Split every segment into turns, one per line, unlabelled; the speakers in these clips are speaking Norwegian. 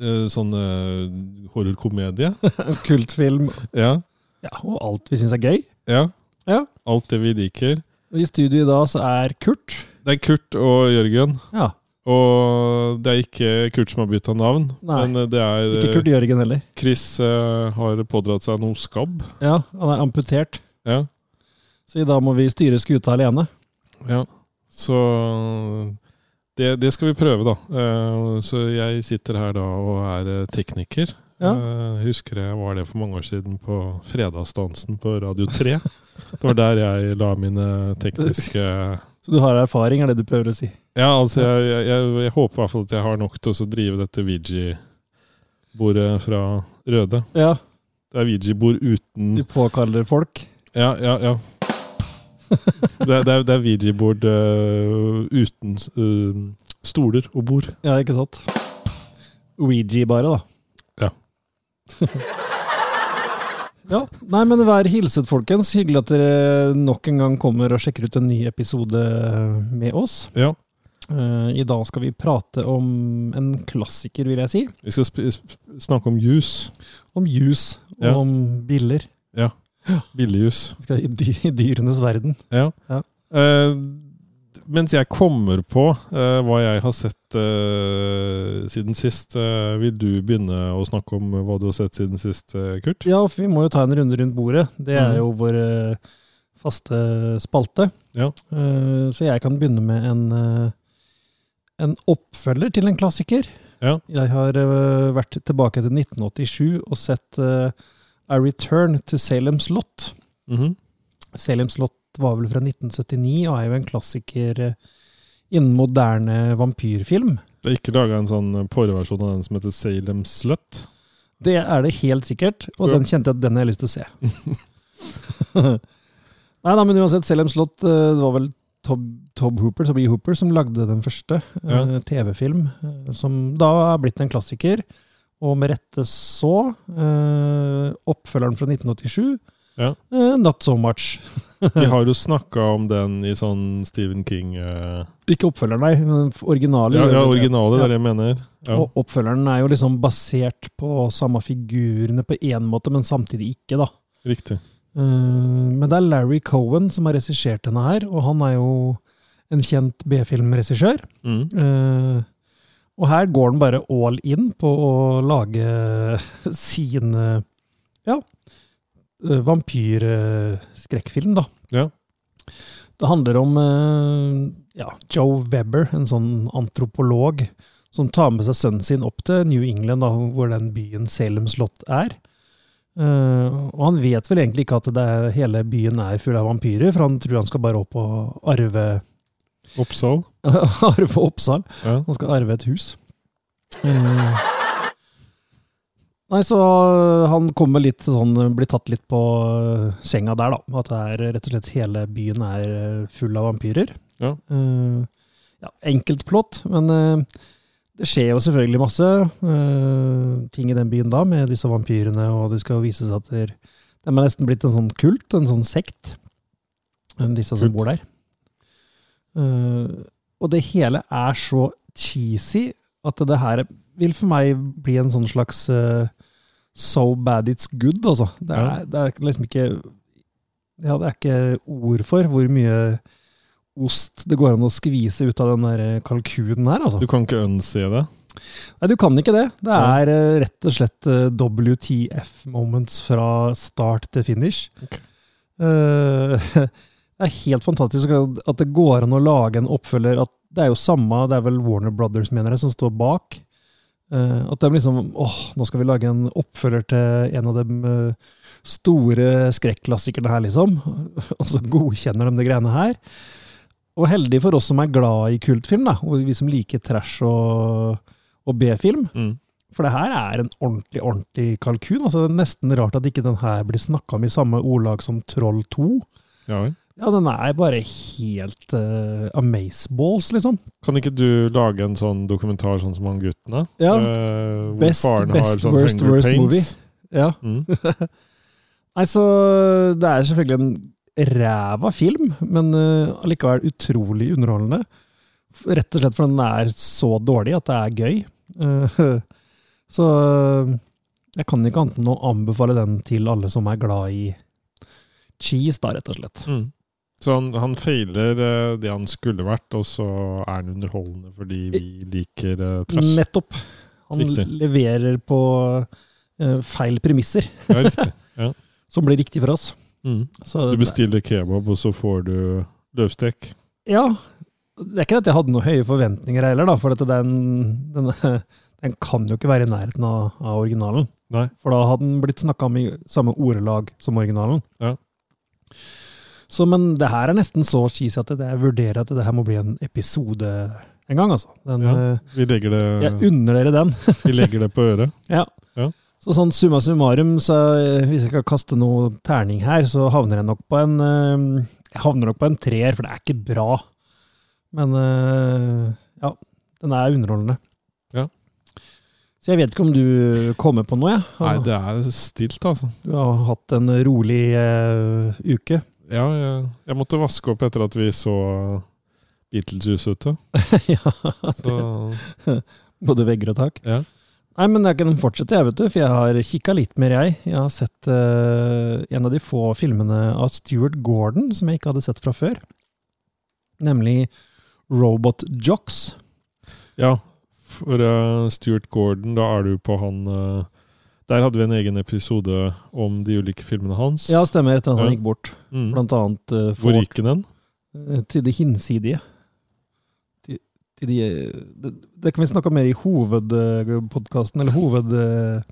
Eh, Sånn eh, horrorkomedie.
kultfilm
Ja.
ja, og alt vi syns er gøy.
ja.
Ja.
Alt det vi liker.
Og I studio i dag så er Kurt.
Det er Kurt og Jørgen.
Ja,
Og det er ikke Kurt som har bytta navn.
Nei.
Men eh, det er
Ikke
eh,
Kurt Jørgen heller.
Chris eh, har pådratt seg noe skabb.
Ja, Han er amputert,
Ja.
så i dag må vi styre skuta alene.
ja. Så det, det skal vi prøve, da. Eh, Så jeg sitter her da og er eh, tekniker.
Ja.
Eh, husker jeg var det for mange år siden på Fredagsdansen på Radio 3. Det var der jeg la mine tekniske
Så du har erfaring, er det du prøver å si.
Ja, altså, jeg, jeg, jeg, jeg håper i hvert fall at jeg har nok til å drive dette Vigi-bordet fra Røde.
Ja,
Det er Vigi-bord uten
Du påkaller folk.
Ja, ja, ja. Det er, det er, det er Vigi-bord eh, uten eh, stoler og bord.
Ja, ikke sant? Ouija bare, da.
Ja.
ja. Nei, men vær hilset, folkens. Hyggelig at dere nok en gang kommer og sjekker ut en ny episode med oss.
Ja.
Eh, I dag skal vi prate om en klassiker, vil jeg si.
Vi skal sp sp snakke om jus.
Om jus og
Ja.
om biller.
Billigjus.
Vi skal i, dy I dyrenes verden.
Ja.
Ja.
Eh, mens jeg kommer på eh, hva jeg har sett eh, siden sist, eh, vil du begynne å snakke om hva du har sett siden sist, eh, Kurt?
Ja, for vi må jo ta en runde rundt bordet. Det
Mhm.
er jo vår eh, faste spalte.
Ja.
Eh, så jeg kan begynne med en, eh, en oppfølger til en klassiker.
Ja.
Jeg har eh, vært tilbake til 1987 og sett eh, A Return to Salem Slott.
Mhm.
Salem Slott var vel fra 1979 og er jo en klassiker eh, innen moderne vampyrfilm.
Det er ikke laga en sånn porreversjon av den som heter Salem Slut.
Det er det helt sikkert, og
Ja.
den kjente jeg at den har jeg lyst til å se. nei, nei, men uansett, Selem Slott, eh, det var vel Tob, Tob Hooper, Toby Hooper som lagde den første
Ja.
eh, TV-film, eh, som da er blitt en klassiker, og med rette så, eh, oppfølgeren fra 1987,
Ja.
eh, Not So Much.
Vi har jo snakka om den i sånn Stephen King eh,
Ikke oppfølgeren, nei, men originalen.
Ja, ja originale, det er det jeg mener. Ja.
Og oppfølgeren er jo liksom basert på samme figurene på en måte, men samtidig ikke da.
Riktig.
Eh, Men det er Larry Cohen som har regissert denne her, og han er jo en kjent B-filmregissør.
Mm.
Eh, Og her går han bare all in på å lage sine ja, eh, vampyrskrekkfilm, da.
Ja.
Det handler om eh, ja, Joe Webber, en sånn antropolog, som tar med seg sønnen sin opp til New England, da, hvor den byen Salem Slott er. Eh, og han vet vel egentlig ikke at det er, hele byen er full av vampyrer, for han tror han skal bare opp og arve,
Oppsal.
arve Oppsal.
Ja.
Han skal arve et hus. Eh, Nei, så han kommer litt sånn Blir tatt litt på eh, senga der, da. At det er rett og slett hele byen er eh, full av vampyrer.
Ja.
Eh, ja enkelt plott, men eh, det skjer jo selvfølgelig masse eh, ting i den byen da, med disse vampyrene, og det skal jo vise seg at det de er nesten blitt en sånn kult, en sånn sekt, eh, disse som
Kult.
bor der. Eh, og det hele er så cheesy at det her vil for meg bli en sånn slags eh, so bad it's good, altså. Det er,
Ja.
det er liksom ikke Ja, det er ikke ord for hvor mye ost det går an å skvise ut av den der kalkunen her, altså.
Du kan ikke unse det?
Nei, du kan ikke det. Det er eh, rett og slett eh, WTF moments fra start til finish.
Ok.
Eh, det er helt fantastisk at at det går an å lage en oppfølger. At det er jo samme, det er vel Warner Brothers, mener jeg, som står bak. Eh, at de liksom åh, nå skal vi lage en oppfølger til en av de eh, store skrekklassikerne her, liksom. Og så godkjenner de de greiene her. Og heldig for oss som er glad i kultfilm, da, og vi som liker trash og, og B-film.
Mm.
For det her er en ordentlig, ordentlig kalkun. Altså, det er nesten rart at ikke den her blir snakka om i samme ordlag som Troll 2.
Ja vel.
Ja, den er bare helt eh, amazeballs, liksom.
Kan ikke du lage en sånn dokumentar sånn som han gutten, da?
Ja.
Eh, hvor
Best-
faren
best,
har sånn
worst,
Hunger
worst
Pains.
movie. Ja.
Mm.
Nei, så det er selvfølgelig en ræva film, men eh, allikevel utrolig underholdende. F- Rett og slett fordi den er så dårlig at det er gøy. Eh, så eh, jeg kan ikke annet enn å anbefale den til alle som er glad i cheese, da, rett og slett.
Mm. Så han, han feiler eh, det han skulle vært, og så er han underholdende fordi vi liker eh, trash.
Nettopp. Han
Riktig.
leverer på eh, feil premisser,
Ja, riktig.
som blir riktig for oss.
Mm.
Så
Du bestiller kebab, og så får du løvstek.
Ja. Det er ikke at jeg hadde noen høye forventninger heller, da, for at den, den, den kan jo ikke være i nærheten av, av originalen.
Nei.
For da hadde den blitt snakka om i samme ordelag som originalen.
Ja.
Så, men det her er nesten så cheesy at jeg vurderer at det her må bli en episode en gang, altså. Den,
Ja.
eh,
Vi legger
Jeg
det,
unner dere den.
vi legger det på øret.
Så sånn summa summarum, så eh, hvis jeg skal kaste noe terning her, så havner jeg nok på en eh, Jeg havner nok på en treer, for det er ikke bra. Men eh, ja, den er underholdende.
Ja.
Så jeg vet ikke om du kommer på noe, jeg.
Nei, det er stilt, altså.
Du har hatt en rolig eh, uke.
Ja, jeg, jeg måtte vaske opp etter at vi så Beatles ute.
ja,
Så
både vegger og tak.
ja.
Nei, men jeg kan fortsette, jeg, vet du, for jeg har kikka litt mer, jeg. Jeg har sett eh, en av de få filmene av Stuart Gordon som jeg ikke hadde sett fra før. Nemlig Robot Jocks.
ja. For eh, Stuart Gordon, da er du på han eh, Der hadde vi en egen episode om de ulike filmene hans.
Ja, stemmer, etter at han
Ja.
gikk bort.
mm.
Blant annet eh,
Hvor
for,
gikk den?
eh, til det hinsidige. Til, til de, eh, det, det kan vi snakke om mer i hovedpodkasten, eller hoved, eh,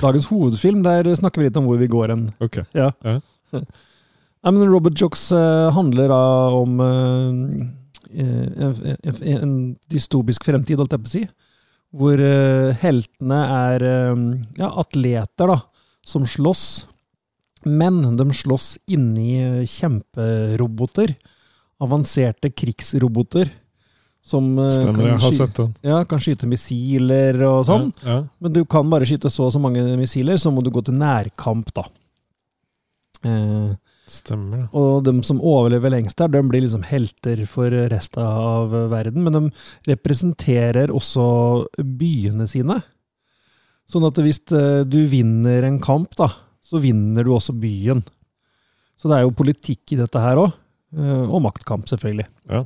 dagens hovedfilm. Der snakker vi litt om hvor vi går hen.
Ok.
Ja.
Ja.
Nei, men Robert Jocks eh, handler da om eh, eh, en, en dystopisk fremtid, holdt jeg på å si. Hvor eh, heltene er eh, ja, atleter da, som slåss. Men de slåss inni eh, kjemperoboter. Avanserte krigsroboter. Som eh,
Stemmer, jeg
kan,
har
sky
sett den.
ja, kan skyte missiler og sånn.
Ja.
Men du kan bare skyte så og så mange missiler, så må du gå til nærkamp, da. Eh,
Stemmer det.
og de som overlever lengst der, de blir liksom helter for resten av verden. Men de representerer også byene sine. Sånn at hvis eh, du vinner en kamp, da, så vinner du også byen. Så det er jo politikk i dette her òg. Og maktkamp, selvfølgelig.
Ja.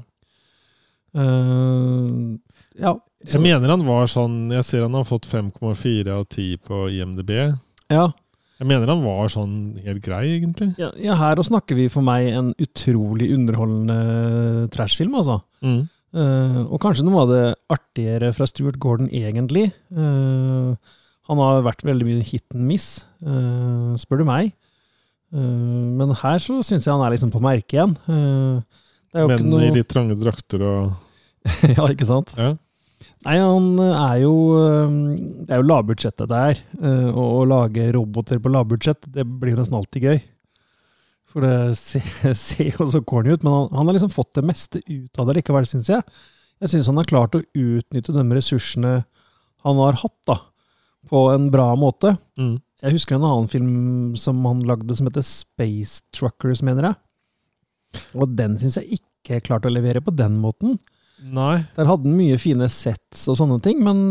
Eh, ja.
Jeg mener han var sånn Jeg ser han har fått 5,4 av 10 på IMDb.
ja.
Jeg mener han var sånn helt grei, egentlig.
Ja, ja, her og snakker vi for meg en utrolig underholdende trashfilm, altså.
Mm.
Eh, og kanskje noe av det artigere fra Stuart Gordon, egentlig. Eh, han har vært veldig mye hit and miss, eh, spør du meg. Eh, men her så syns jeg han er liksom på merket igjen. Eh, det er jo
Men
ikke noe
i litt trange drakter og
Ja, ikke sant?
ja.
Nei, han eh, er jo øhm, Det er jo lavbudsjett, dette her. Eh, Og å lage roboter på lavbudsjett, det blir jo nesten alltid gøy. For det se- ser jo så corny ut, men han, han har liksom fått det meste ut av det likevel, syns jeg. Jeg syns han har klart å utnytte de ressursene han har hatt, da, på en bra måte.
Mm.
Jeg husker en annen film som han lagde som heter Space Truckers, mener jeg. Og den syns jeg ikke klarte å levere på den måten.
Nei.
Der hadde den mye fine sets og sånne ting, men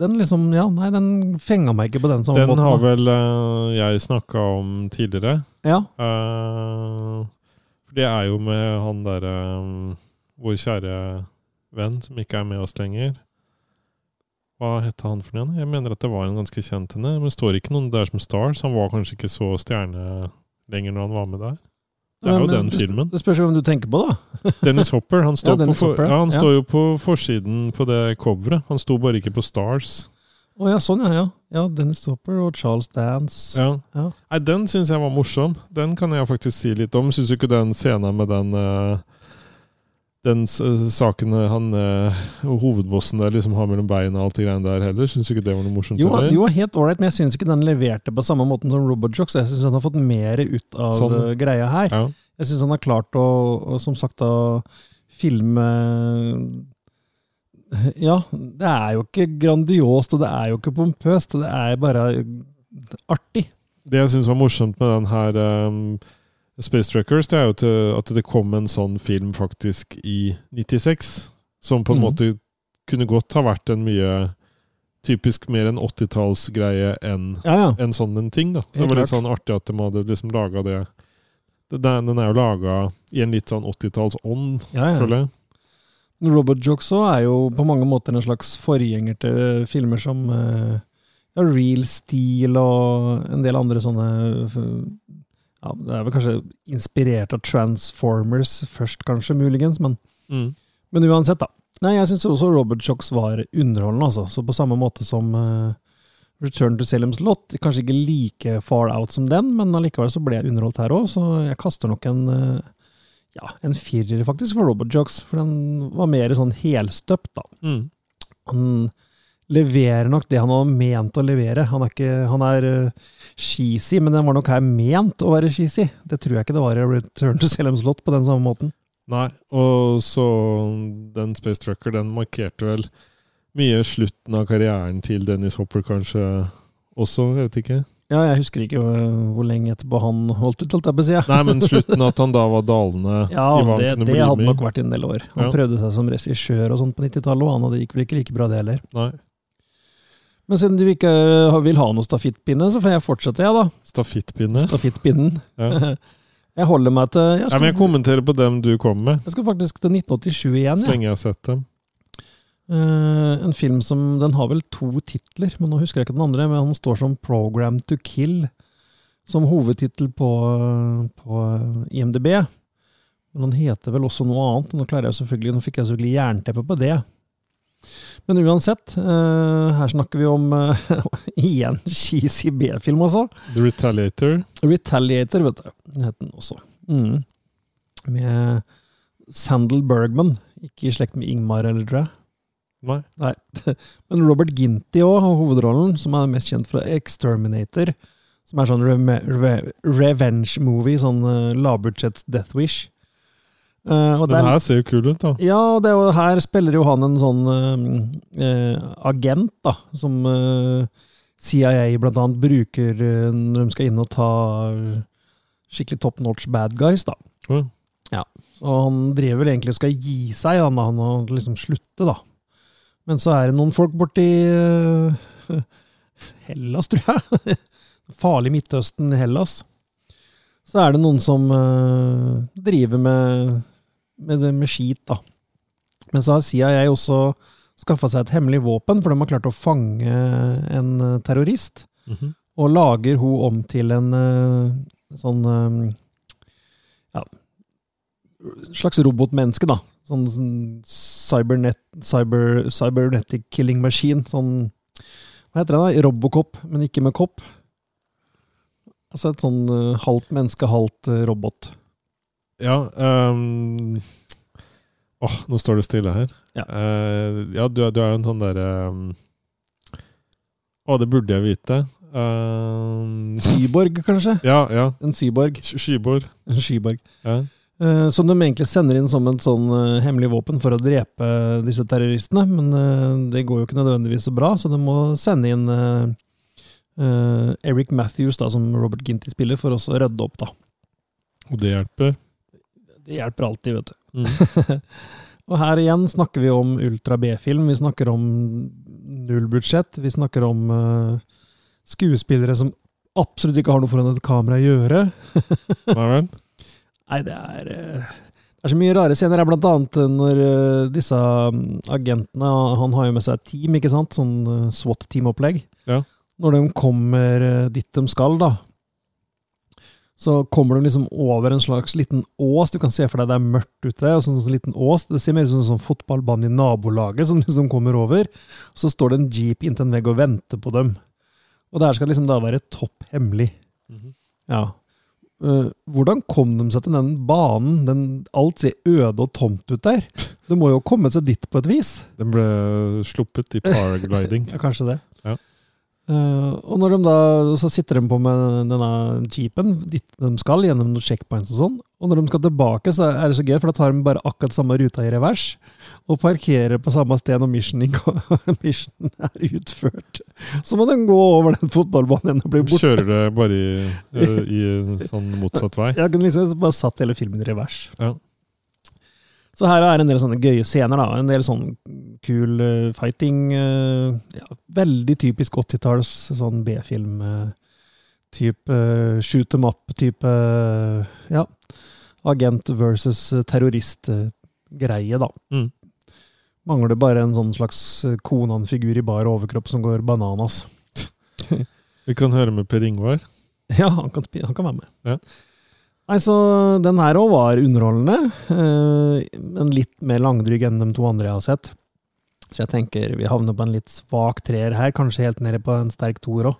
den liksom, ja, nei, den fenga meg ikke på den samme
Den
måten.
har
da.
vel eh, jeg snakka om tidligere.
Ja,
Eh, For det er jo med han derre eh, Vår kjære venn som ikke er med oss lenger. Hva het han for noe igjen? Jeg mener at det var en ganske kjent henne. Men det står ikke noen der som Stars. Han var kanskje ikke så stjerne lenger når han var med der. Det er jo
Men
den filmen.
Det spørs jo hvem du tenker på, da.
Dennis Hopper. Han står,
Ja, Dennis
på, for,
Hopper,
ja, han
ja.
står jo på forsiden på det coveret. Han sto bare ikke på Stars.
Å ja, sånn ja, ja. Ja, Dennis Hopper og Charles Dance.
Ja.
Ja.
Nei, den syns jeg var morsom. Den kan jeg faktisk si litt om. Syns du ikke den scenen med den eh, den s- saken han eh, hovedbossen der liksom har mellom beina og alt det greiene der heller, syns du ikke det var noe morsomt?
Jo,
heller?
jo, helt ålreit, men jeg syns ikke den leverte på samme måten som Robotjock, så jeg syns han har fått mer ut av
Sånn.
eh, greia her.
Ja.
Jeg syns han har klart å, å, som sagt, å filme eh, Ja, det er jo ikke grandiost, og det er jo ikke pompøst, det er bare artig.
Det jeg syns var morsomt med den her ehm, Space Trackers, det er jo til, at det kom en sånn film faktisk i 96, som på en
Mhm.
måte kunne godt ha vært en mye typisk mer en 80-tallsgreie enn
Ja, ja.
en sånn en ting. da. Så
Helt
det var litt
klart.
sånn artig at de hadde liksom laga det Det- Den, den er jo laga i en litt sånn 80-tallsånd,
ja, ja.
føler jeg.
Robotjocks òg er jo på mange måter en slags forgjenger til eh, filmer som eh, ja, Real Steel og en del andre sånne eh, ja, Det er vel kanskje inspirert av Transformers først, kanskje, muligens, men,
Mm.
men uansett, da. Nei, jeg syns også Robotjocks var underholdende, altså. Så på samme måte som eh, Return to Salem's Lot. Kanskje ikke like far out som den, men allikevel så ble jeg underholdt her òg, så jeg kaster nok en eh, ja, en firer faktisk for Robotjocks, for den var mer sånn helstøpt, da.
Mm.
Han leverer nok det han var ment å levere. Han er, ikke, han er eh, cheesy, men den var nok her ment å være cheesy. Det tror jeg ikke det var i Return to Salem Slott på den samme måten.
Nei, og så den Space Trucker, den markerte vel mye slutten av karrieren til Dennis Hopper, kanskje også, jeg vet ikke.
Ja, jeg husker ikke eh, hvor lenge etterpå han holdt ut, holdt jeg på å si. ja.
Nei, men slutten at han da var dalende
Ja,
i hva han
det,
kunne
det
bli
hadde
med i.
nok vært en del år. Han
Ja.
prøvde seg som regissør og sånt på 90-tallet, og han hadde gikk vel ikke like bra det heller.
Nei,
Men siden du ikke eh, vil ha noe stafittpinne, så får jeg fortsette, jeg, da.
Stafittpinne.
Stafittpinnen.
Ja.
Jeg holder meg til jeg
Ja,
skal,
men jeg kommenterer på dem du kom med,
jeg skal faktisk til 1987 igjen.
så
jeg.
lenge jeg har sett dem.
Eh, en film som Den har vel to titler, men nå husker jeg ikke den andre. Men han står som 'Program to Kill' som hovedtittel på, på eh, IMDb. Men han heter vel også noe annet. og Nå, klarer jeg selvfølgelig, nå fikk jeg selvfølgelig jernteppe på det. Men uansett, eh, her snakker vi om eh, igjen cheesy B-film, altså.
The Retaliator.
Retaliator, vet du, het den også. Mm. Med Sandal Bergman, ikke i slekt med Ingmar, eller tror jeg.
Nei.
Men Robert Ginty òg har hovedrollen, som er mest kjent fra Exterminator. Som er sånn reme- re revenge-movie, sånn uh, lavbudsjetts Death Wish. Eh, og
Den
der-
her ser jo kul ut, da.
ja, det er jo, her spiller jo han en sånn eh, eh, agent, da, som eh, CIA blant annet bruker eh, når de skal inn og ta skikkelig top notch bad guys, da.
Ja.
Ja. Så han driver vel egentlig og skal gi seg, han, da, han og liksom slutte, da. Men så er det noen folk borti eh, Hellas, tror jeg. Farlig Midtøsten, Hellas. Så er det noen som eh, driver med med, det- med skit, da. Men så har CIA også skaffa seg et hemmelig våpen, for de har klart å fange en eh, terrorist.
Mhm.
Og lager hun om til en eh, sånn eh, ja, slags robotmenneske, da. Sånn, sånn cybernet, cyber, cybernetic killing machine. Sånn Hva heter det, da? Robocop, men ikke med kopp. Altså et sånn eh, halvt menneske, halvt eh, robot.
Ja ehm, Åh, nå står det stille her.
Ja.
Eh, ja du, er- du er jo en sånn derre ehm, Å, det burde jeg vite. Ehm,
Syborg, kanskje?
ja, ja.
En syborg.
Sk- Skybord.
En Skyborg.
Ja.
Eh, som de egentlig sender inn som et sånn eh, hemmelig våpen for å drepe disse terroristene. Men eh, det går jo ikke nødvendigvis så bra, så de må sende inn eh, eh, Eric Matthews, da, som Robert Ginty spiller, for også å rydde opp, da.
Og det hjelper.
Det hjelper alltid, vet du.
Mm.
Og her igjen snakker vi om ultra B-film, vi snakker om nullbudsjett, vi snakker om eh, skuespillere som absolutt ikke har noe foran et kamera å gjøre.
Nei vel?
Nei, det er eh, Det er så mye rare scener. Det er blant annet eh, når eh, disse mm, agentene Han har jo med seg et team, ikke sant? Sånn eh, SWAT-teamopplegg.
Ja.
Når de kommer eh, dit de skal, da, så kommer de liksom over en slags liten ås. Du kan se for deg det er mørkt ute, og sånn, sånn liten ås. Det ser mer ut som en sånn fotballbane i nabolaget som liksom kommer over. Så står det en jeep inntil en vegg og venter på dem. Og det her skal liksom da være topp hemmelig.
Mhm.
Ja. Eh, hvordan kom de seg til den banen? Den, alt ser øde og tomt ut der. De må jo ha kommet seg dit på et vis.
Den ble sluppet i paragliding.
Ja, kanskje det.
Ja.
Eh, og når de da, så sitter de på med denne jeepen dit de skal, gjennom noen checkpoints og sånn. Og når de skal tilbake, så er det så gøy, for da tar de bare akkurat samme ruta i revers. Og parkerer på samme sted når mission, ikke- mission er utført. Så må de gå over den fotballbanen og bli
De
borte.
kjører det bare i, eh, i en sånn motsatt vei.
Jeg kunne liksom bare satt hele filmen i revers.
Ja.
Så her er en del sånne gøye scener, da. En del sånn kul eh, fighting. eh, ja, veldig typisk 80-talls sånn B-film-type eh, shoot them up-type eh, Ja. Agent versus terrorist-greie, da.
Mm.
Mangler bare en sånn slags Konan-figur i bar overkropp som går bananas.
Vi kan høre med Per Ingvar.
Ja, han kan, spi- han kan være med.
Ja.
Nei, så Den her òg var underholdende, eh, men litt mer langdryg enn de to andre jeg har sett. Så jeg tenker vi havner på en litt svak treer her, kanskje helt nede på en sterk toer òg,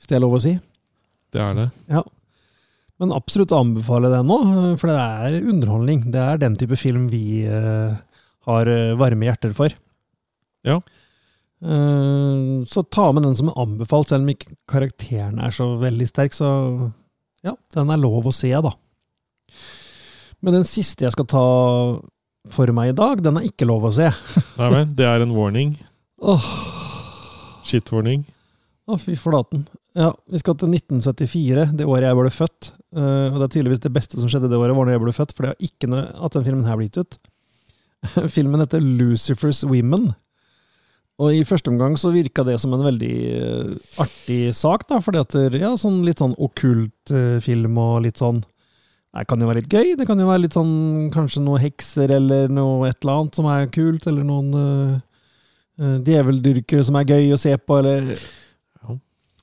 hvis det er lov å si.
Det er det.
Men absolutt anbefale den nå, eh, for det er underholdning. Det er den type film vi eh, har eh, varme hjerter for.
Ja.
Eh, så ta med den som er anbefalt, selv om ikke karakteren er så veldig sterk. Så ja, den er lov å se, da. Men den siste jeg skal ta for meg i dag, den er ikke lov å se.
Nei vel, det er en warning.
Åh,
Shit-warning.
Å, fy flaten. Ja, vi skal til 1974, det året jeg ble født. Eh, og det er tydeligvis det beste som skjedde det året, var når jeg ble født, for det har ikke noe at den filmen her blitt ut. filmen heter Lucifer's Women. Og i første omgang så virka det som en veldig eh, artig sak, da, fordi at det- ja, sånn litt sånn okkult eh, film og litt sånn Det kan jo være litt gøy. Det kan jo være litt sånn kanskje noe hekser eller noe et eller annet som er kult, eller noen eh, eh, djeveldyrkere som er gøy å se på, eller
Ja.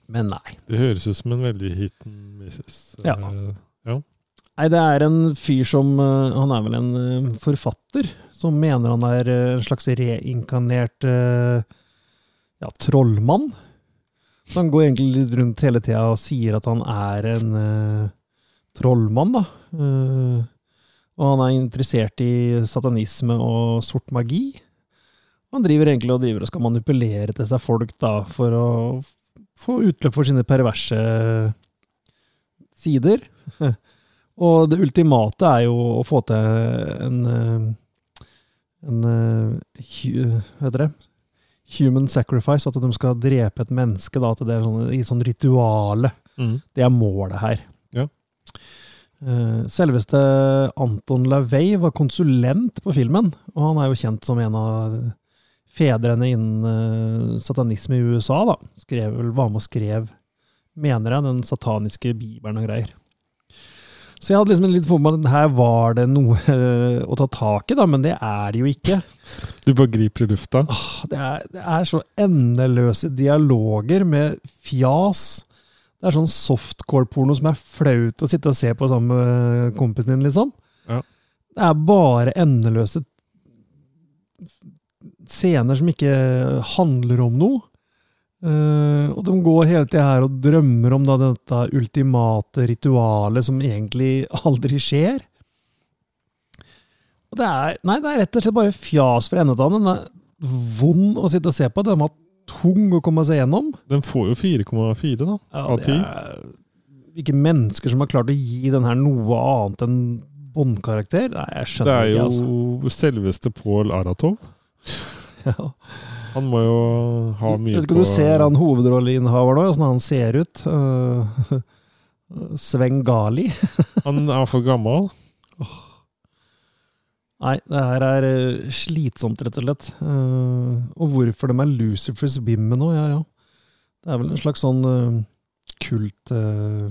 Men nei.
Det høres ut som en veldig hit and misses.
Ja.
Eh,
Nei, det er en fyr som eh, Han er vel en eh, forfatter som mener han er eh, en slags reinkarnert eh, ja, trollmann. Så han går egentlig litt rundt hele tida og sier at han er en eh, trollmann, da. Eh, og han er interessert i satanisme og sort magi. Han driver egentlig og driver og skal manipulere til seg folk da, for å f- få utløp for sine perverse eh, sider. Og det ultimate er jo å få til en eh, en eh, hu- Hva heter det? Human sacrifice. At de skal drepe et menneske. Da, at det er sånn, i sånn rituale.
Mm.
Det er målet her.
Ja.
Eh, Selveste Anton LaVey var konsulent på filmen, og han er jo kjent som en av fedrene innen eh, satanisme i USA. da. Skrev, vel- var med og skrev, mener jeg, den sataniske bibelen og greier. Så jeg hadde liksom litt for meg at her var det noe eh, å ta tak i, da, men det er det jo ikke.
Du bare griper i lufta.
Det er, det er så endeløse dialoger med fjas. Det er sånn softcore-porno som er flaut å sitte og se på sammen med kompisen din, liksom.
Ja.
Det er bare endeløse scener som ikke handler om noe. Eh, og de går hele tida her og drømmer om da, dette ultimate ritualet som egentlig aldri skjer. Og det er, nei, det er rett og slett bare fjas fra ende til annen. Den er vond å sitte og se på. Den var tung å komme seg gjennom.
Den får jo 4,4, da.
Ja,
Av
det
ti?
er Hvilke mennesker som har klart å gi den her noe annet enn båndkarakter? Nei, jeg
Det
skjønner
er
ikke,
jo
altså.
selveste Pål Aratov.
Ja.
Han må jo ha mye
Vet ikke om du ser han hovedrolleinnehaveren òg, åssen han ser ut? Uh, Sven Gali.
Han er for gammel.
Nei, det her er eh, slitsomt, rett og slett. Eh, og hvorfor de er Lucifers Women nå, ja ja. Det er vel en slags sånn eh, kult eh,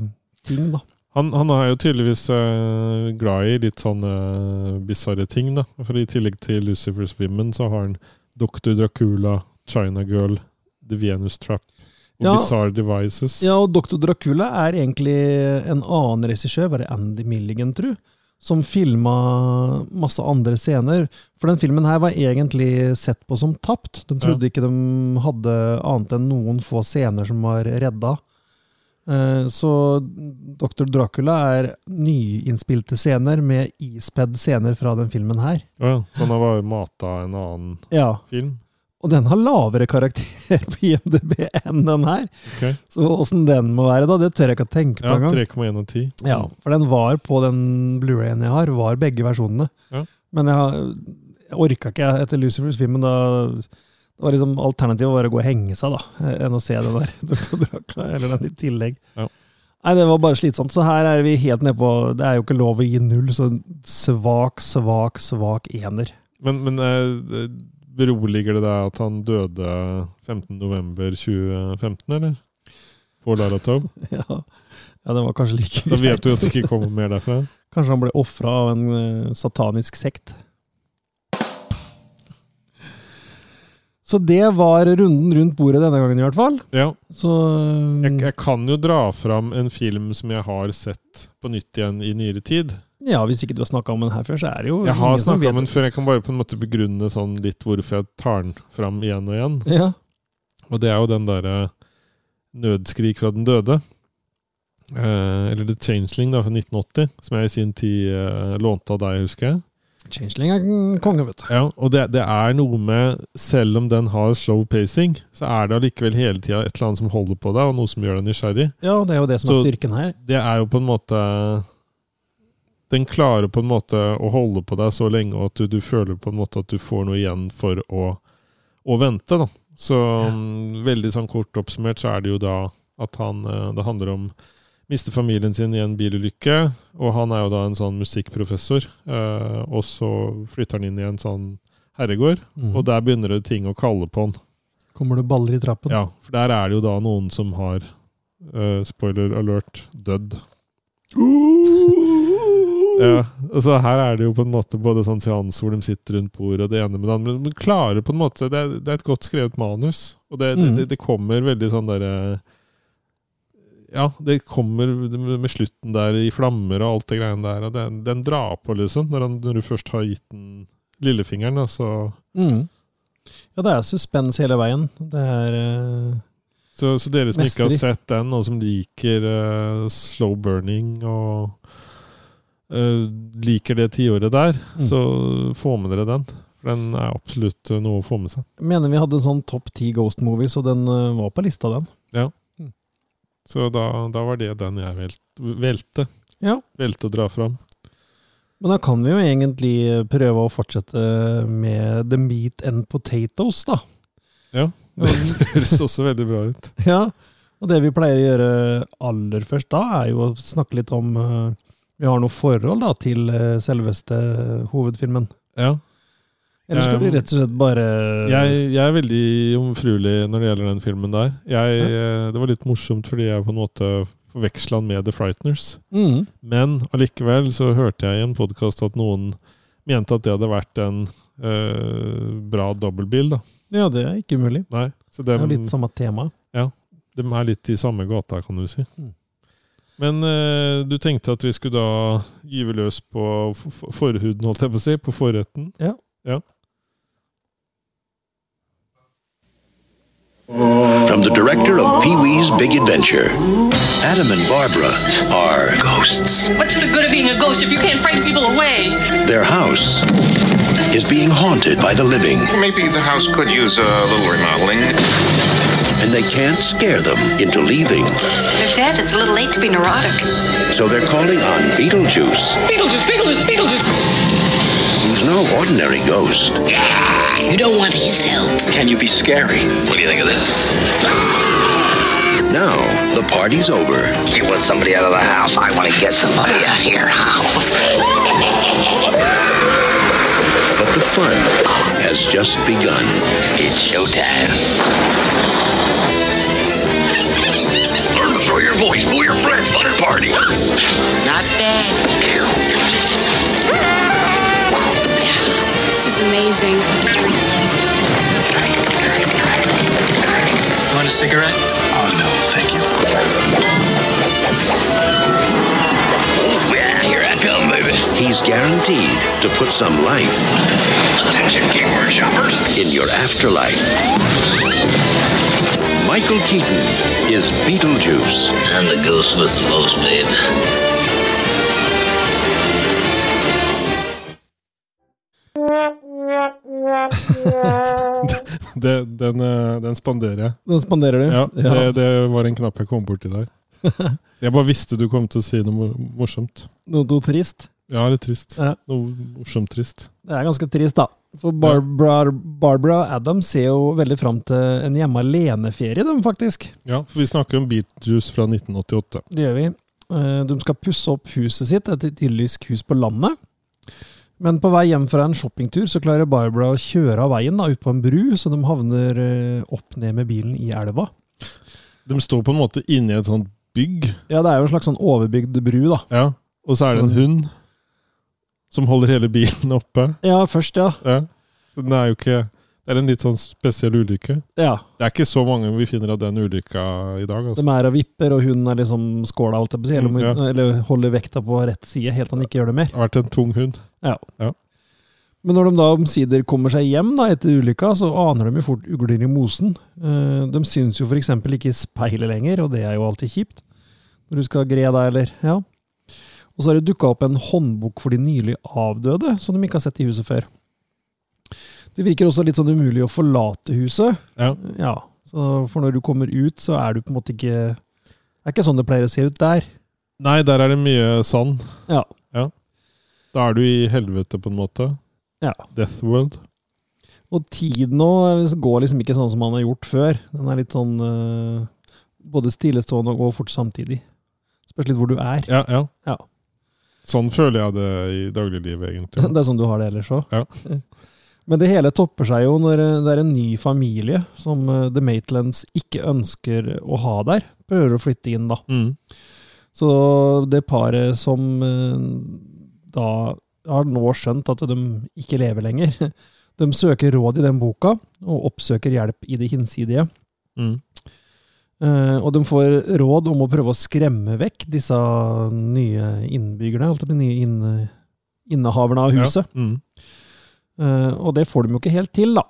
ting, da.
Han, han er jo tydeligvis eh, glad i litt sånne eh, bisarre ting, da. For i tillegg til Lucifer's Women så har han Dr. Dracula, China Girl, The Venus Trap og
Ja.
Bizarre Devices.
Ja, og Dr. Dracula er egentlig en annen regissør, var det Andy Milligan, tru? Som filma masse andre scener. For den filmen her var egentlig sett på som tapt. De trodde ikke de hadde annet enn noen få scener som var redda. Eh, Så Dr. Dracula er nyinnspilte scener med ispedd scener fra den filmen her.
Å ja, så han har bare mata en annen
Ja,
film?
Og den har lavere karakter på IMDb enn den her.
Ok.
Så åssen den må være, da, det tør jeg ikke å tenke på
Ja,
engang.
3,1 av 10.
Ja, for den var på den Blu-rayen jeg har, var begge versjonene.
Ja.
Men jeg, har- jeg orka ikke etter Lucifers filmen. Da det var liksom alternativet var å gå og henge seg, da, enn å se den der Dr. Dracula, eller den i tillegg.
Ja.
Nei, det var bare slitsomt. Så her er vi helt nede på Det er jo ikke lov å gi null, så svak, svak, svak ener.
Men, men eh, beroliger det deg at han døde 15.11.2015, eller? På Laratov?
Ja. ja, den var kanskje like
Da vet du at det
greit.
ikke kommer mer derfra.
Kanskje han ble ofra av en eh, satanisk sekt. Så det var runden rundt bordet denne gangen, i hvert fall.
Ja.
Så eh,
Jeg,
Mm.
jeg kan jo dra fram en film som jeg har sett på nytt igjen i nyere tid.
Ja, hvis ikke du har snakka om den her før, så er det jo
Jeg har
ingen som
snakka
vet
om den før, jeg kan bare på en måte begrunne sånn litt hvorfor jeg tar den fram igjen og igjen.
det. Ja.
Og det er jo den derre 'Nødskrik fra den døde'. Eh, eller 'The Changeling' da, fra 1980, som jeg i sin tid eh, lånte av deg, husker jeg.
Changeling er en konge, vet du.
Ja, og det, det er noe med Selv om den har slow pacing, så er det allikevel hele tida et eller annet som holder på deg, og noe som gjør deg nysgjerrig.
Ja, det er jo det som
Så-
er styrken her.
Det er jo på en måte Den klarer på en måte å holde på deg så lenge, og at du, du føler på en måte at du får noe igjen for å, å vente. da. Så mm, veldig sånn kort oppsummert så er det jo da at han eh, Det handler om mister familien sin i en bilulykke, og han er jo da en sånn musikkprofessor. eh, og så flytter han inn i en sånn herregård.
Mm.
Og der begynner det ting å kalle på han.
kommer det baller i trappen.
Ja, for der er det jo da noen som har eh, Spoiler alert dødd.
Uh.
Ja, altså Her er det jo på en måte både sånn seanse hvor de sitter rundt bordet og det ene med det andre. Men de klarer på en måte Det er, det er et godt skrevet manus, og det, det,
Mm.
det, det kommer veldig sånn derre ja, det kommer med med slutten der i flammer og alt det greiene der. Og den, den drar på, liksom. Når, han, når du først har gitt den lillefingeren, da, så
Mm. ja, det er suspens hele veien. Det er eh,
Så, så dere som ikke har
Mesteri.
sett den, og som liker eh, slow burning og eh, liker det tiåret der,
Mm.
så få med dere den. For den er absolutt eh, noe å få med seg.
Jeg mener vi hadde en sånn topp ti Ghost Movies, og den eh, var på lista, den.
Så da, da var det den jeg vel, velte.
Ja.
Velte å dra fram.
Men da kan vi jo egentlig prøve å fortsette med the meat and potatoes, da.
Ja.
Og-
Det høres også veldig bra ut.
ja. Og det vi pleier å gjøre aller først da, er jo å snakke litt om eh, Vi har noe forhold da til eh, selveste hovedfilmen.
Ja.
Eller skal vi
Um,
rett og slett bare
Jeg, jeg er veldig jomfruelig når det gjelder den filmen der. Jeg, eh, det var litt morsomt fordi jeg på en måte forveksla den med The Frighteners.
mm,
Men allikevel så hørte jeg i en podkast at noen mente at det hadde vært en eh, bra dobbeltbil, da.
Ja, det er ikke umulig.
Nei, så
Det
dem,
er jo litt samme tema.
de er litt i samme gata, kan du si.
Mm.
Men eh, du tenkte at vi skulle da gyve løs på f- f- forhuden, holdt jeg på å si, på forretten.
From the director of Pee Wee's Big Adventure, Adam and Barbara are ghosts.
What's the good of being a ghost if you can't frighten people away?
Their house is being haunted by the living,
Maybe the house could use a little remodeling.
and they can't scare them into leaving.
They're dead. It's a little late to be neurotic.
So they're calling on Beetlejuice,
Beetlejuice, Beetlejuice, Beetlejuice.
who's no ordinary ghost.
You don't want his help.
Can you be scary?
What do you think of this?
Now, the party's over,
You want somebody out of the house? I want to get somebody out of your house.
but the fun has just begun.
It's showtime. Learn to throw your voice, pull your friends, fun and party.
bed. This is amazing.
want a cigarette?
Oh, no, thank you.
Yeah, here I come, baby.
He's guaranteed to put some life
Attention, keyboard shoppers.
in your afterlife. Michael Keaton is Beetlejuice.
I'm the ghost with the most, babe.
Det, den, eh, den spanderer jeg.
Den spanderer du?
Ja, det, det var en knapp jeg kom borti der. Jeg bare visste du kom til å si noe mo- morsomt.
Noe, noe trist?
Ja, eller trist.
Ja.
Noe morsomt trist.
Det er ganske trist, da. For Barbara, Barbara Adams ser jo veldig fram til en hjemme alene-ferie, de, faktisk.
Ja, for vi snakker om Beatjuice fra 1988.
Det gjør vi. Eh, De skal pusse opp huset sitt, et idyllisk hus på landet. Men på vei hjem fra en shoppingtur så klarer Barbara å kjøre av veien da, ut på en bru, så de havner eh, opp ned med bilen i elva.
De står på en måte inni et sånt bygg,
Ja, det er jo en slags sånn overbygd bru, da.
ja. og så
Sånn.
er det en hund som holder hele bilen oppe.
Ja, først, ja.
Ja. Så Den er jo ikke Det er en litt sånn spesiell ulykke.
ja.
Det er ikke så mange vi finner av den ulykka i dag.
De
Altså.
er og vipper, og hun er liksom skåla, holdt jeg på å si, eller,
Mm, ja.
eller holder vekta på rett side, helt til han ikke gjør det mer.
Det har vært en tung hund.
Ja.
Ja.
Men når de da omsider kommer seg hjem da, etter ulykka, så aner de jo fort ugler i mosen. Eh, De syns jo f.eks. ikke i speilet lenger, og det er jo alltid kjipt. Når du skal gre deg, eller Ja. Og så har det dukka opp en håndbok for de nylig avdøde, som de ikke har sett i huset før. Det virker også litt sånn umulig å forlate huset.
Ja.
Ja, så For når du kommer ut, så er du på en måte ikke Det er ikke sånn det pleier å se ut der.
Nei, der er det mye sand.
Ja.
Da er du i helvete, på en måte.
ja.
Death World.
Og tiden nå går liksom ikke sånn som han har gjort før. Den er litt sånn eh, både stillestående og går fort samtidig. Spørs litt hvor du er.
Ja, ja.
Ja.
Sånn føler jeg det i dagliglivet, egentlig.
Det er sånn du har det ellers òg.
Ja.
Men det hele topper seg jo når eh, det er en ny familie som eh, The Maitlands ikke ønsker å ha der. Prøver å flytte inn, da.
Mm.
Så det paret som eh, da har nå skjønt at de ikke lever lenger, de søker råd i den boka, og oppsøker hjelp i det hinsidige.
Mm.
Eh, og de får råd om å prøve å skremme vekk disse nye innbyggerne, altså de nye inn- innehaverne av huset.
Ja. Mm.
Eh, og det får de jo ikke helt til, da.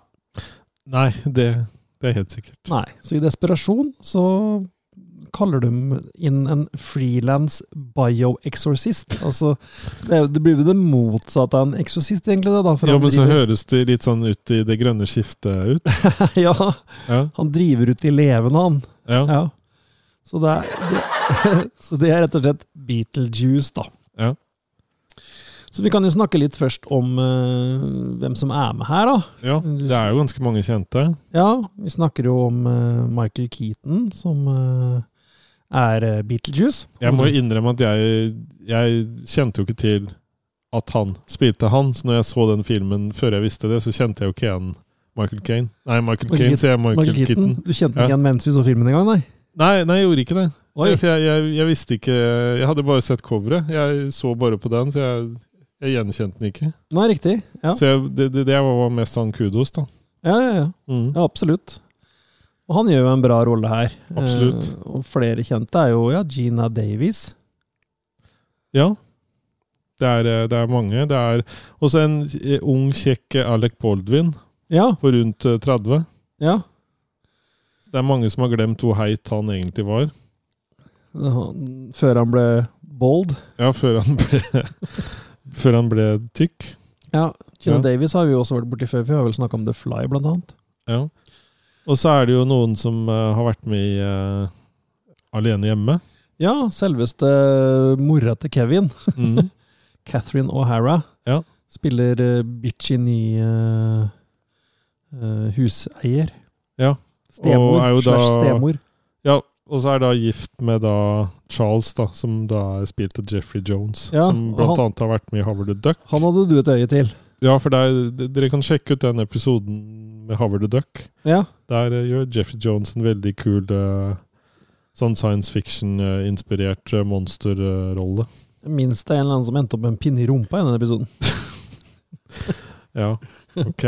Nei, det, det er helt sikkert.
Nei. Så i desperasjon så kaller de inn en frilans bioexorcist. Altså, det, er jo- det blir jo det motsatte av en eksorsist, egentlig. Det, da, for
Ja,
han
men så
driver-
høres det litt sånn ut i det grønne skiftet ut.
ja,
Ja,
han driver ut de levende, han.
ja,
Ja. Så det er, det, så det er rett og slett Beetlejuice, da.
ja.
Så vi kan jo snakke litt først om eh, hvem som er med her, da.
ja. Det er jo ganske mange kjente.
Ja, vi snakker jo om eh, Michael Keaton, som eh, er eh, Beetlejuice.
Jeg må jo innrømme at jeg, jeg kjente jo ikke til at han spilte han. Så når jeg så den filmen før jeg visste det, så kjente jeg jo ikke igjen Michael Kane. Nei, Michael
Michael
Kane, sier jeg. Michael,
Michael Keaton.
Keaton.
Du kjente den
Ja.
ikke igjen mens vi så filmen engang, nei?
Nei, nei, jeg gjorde ikke det.
Oi.
For Jeg, jeg, jeg visste ikke Jeg hadde bare sett coveret. Jeg så bare på den, så jeg, jeg gjenkjente den ikke.
Nei, riktig. Ja,
Så jeg, det, det, det var mest sånn kudos, da.
ja, ja. ja.
Mm.
ja absolutt. Og han gjør jo en bra rolle her.
Absolutt.
Eh, og flere kjente er jo ja, Gina Davies.
Ja. Det er, eh, det er mange. Det er også en eh, ung, kjekk Alec Baldwin
Ja,
på rundt eh, 30.
ja.
Så det er mange som har glemt hvor heit han egentlig var.
Han- Før han ble bold.
Ja, før han ble, før han ble tykk.
Ja, Gina
Ja.
Davies har vi jo også vært borti før. Vi har vel snakka om The Fly, blant annet.
Ja. Og så er det jo noen som eh, har vært med i eh, Alene hjemme.
Ja, selveste eh, mora til Kevin,
Mm.
Catherine O'Hara,
Ja.
spiller eh, bitch i ny eh, eh, huseier.
Ja,
Stemor,
og er jo da-
slash stemor.
ja, og så er da gift med da Charles, da, som da er spilt av Jeffrey Jones.
Ja,
som
og
blant
han-
annet har vært med i Howard the Duck.
Han hadde du et øye til.
Ja, for der, d- dere kan sjekke ut den episoden med Howard the Duck.
Ja,
Der eh, gjør Jeffrey Jones en veldig kul eh, sånn science fiction-inspirert eh, monsterrolle.
Minst det er en eller annen som endte opp med en pinne i rumpa i denne episoden.
Ja, ok.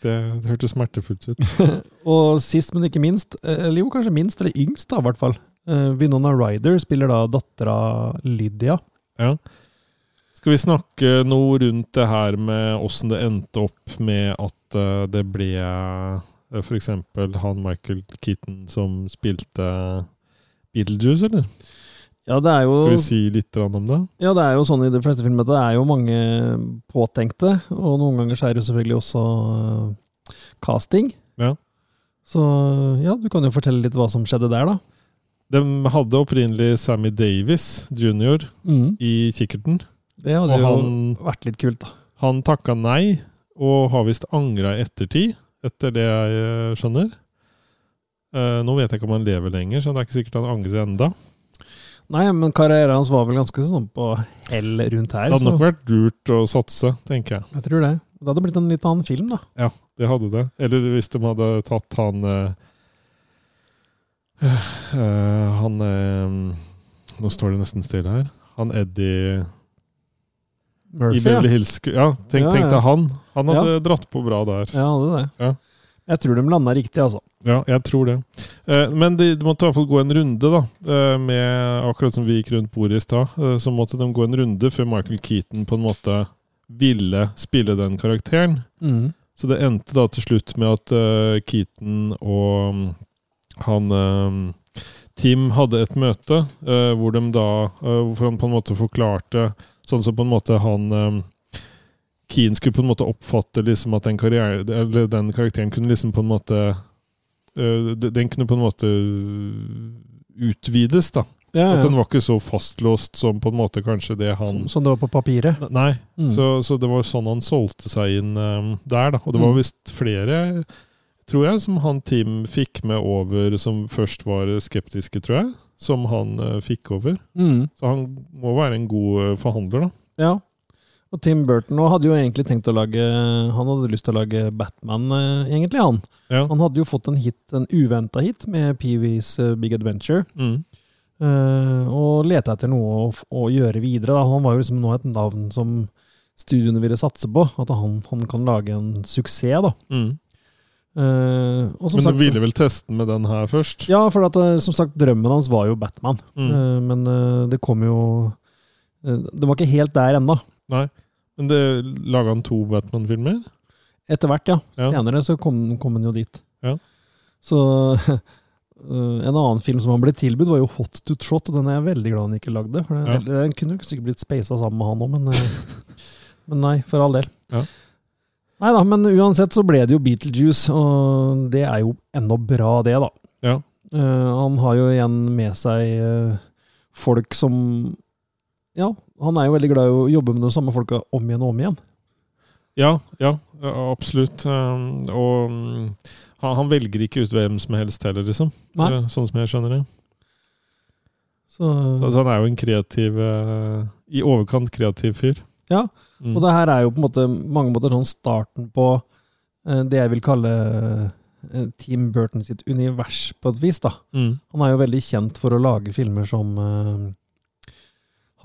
Det, det hørtes smertefullt ut.
Og sist, men ikke minst, eh, eller jo, kanskje minst, eller yngst, da, i hvert fall. Eh, Winona Ryder spiller da dattera Lydia.
Ja. Skal vi snakke noe rundt det her med åssen det endte opp med at eh, det ble eh, for eksempel han Michael Keaton som spilte eh, Beetlejuice, eller?
Ja, det er
Skal
jo
vi si litt grann om det?
Ja, det er jo sånn i de fleste filmer at det er jo mange påtenkte, og noen ganger så er det jo selvfølgelig også øh, casting.
Ja.
Så eh, ja, du kan jo fortelle litt hva som skjedde der, da.
De hadde opprinnelig Sammy Davis jr. i kikkerten,
Det hadde
Mm. og
jo
han,
vært litt kult, da.
han takka nei, og har visst angra i ettertid, etter det jeg eh, skjønner. Eh, nå vet jeg ikke om han lever lenger, så det er ikke sikkert han angrer enda.
Nei, men karrieren hans var vel ganske sånn på hell rundt
Det
her.
hadde
Så
nok vært lurt å satse, tenker jeg.
jeg tror det. Det hadde blitt en litt annen film, da.
Det hadde det. Eller hvis de hadde tatt han eh, eh, Han eh, Nå står det nesten stille her. Han Eddie i
Murphy, ja.
Beverly Hills Cu- Ja, tenk,
Ja,
tenk
ja.
deg han. Han hadde dratt på bra der.
Ja, hadde det.
Ja.
Jeg tror de landa riktig, altså.
Ja, jeg tror det. Eh, men de, de måtte i hvert fall gå en runde, da. eh, med Akkurat som vi gikk rundt bordet i stad, eh, så måtte de gå en runde før Michael Keaton på en måte ville spille den karakteren. Så det endte da til slutt med at eh, Keaton og mm, han eh, Tim hadde et møte eh, hvor de da eh, Hvor han på en måte forklarte Sånn som på en måte han um, Keane skulle på en måte oppfatte liksom at den, karriere, eller den karakteren kunne liksom på en måte eh, de- Den kunne på en måte utvides, da.
Ja,
At
ja.
den var ikke så fastlåst som på en måte kanskje det han
Som, som det var på papiret.
Nei.
Mm.
Så, så det var sånn han solgte seg inn eh, der, da. Og det var
Mm.
visst flere, tror jeg, som han Tim fikk med over, som først var skeptiske, tror jeg. Som han eh, fikk over.
Mm.
Så han må være en god eh, forhandler, da.
Ja. Og Tim Burton nå hadde jo egentlig tenkt å lage Han hadde lyst til å lage Batman, eh, egentlig, han.
Ja.
Han hadde jo fått en hit, en uventa hit med Peewees Big Adventure,
Mm.
eh, og leta etter noe å, f- å gjøre videre. Da. Han var jo liksom nå et navn som studioene ville satse på. At han, han kan lage en suksess, da.
Mm.
Eh, og som
Men
sagt,
du ville vel teste den med den her først?
Ja, for at, eh, som sagt, drømmen hans var jo Batman.
Mm.
Eh, men eh, det kom jo eh, Det var ikke helt der ennå.
Men det laga han to Batman-filmer?
Etter hvert, ja.
Ja.
Senere så kom, kom han jo dit.
Ja.
Så eh, en annen film som han ble tilbudt, var jo Hot to Trot, og den er jeg veldig glad han ikke lagde. For den,
Ja.
den kunne jo sikkert blitt speisa sammen med han òg, men, eh, men nei, for all del.
Ja.
Nei da, men uansett så ble det jo Beetlejuice, og det er jo ennå bra, det, da.
Ja.
Eh, han har jo igjen med seg eh, folk som Ja, han er jo veldig glad i å jobbe med de samme folka om igjen og om igjen.
Ja, ja, ja, absolutt. Um, og um, han, han velger ikke ut hvem som helst heller, liksom.
Nei.
Eh, Sånn som jeg skjønner det.
Så,
Så, så han er jo en kreativ eh, I overkant kreativ fyr.
Ja,
Mm.
Og det her er jo på en måte, mange måter sånn starten på eh, det jeg vil kalle eh, Tim Burton sitt univers, på et vis. da.
mm.
Han er jo veldig kjent for å lage filmer som eh,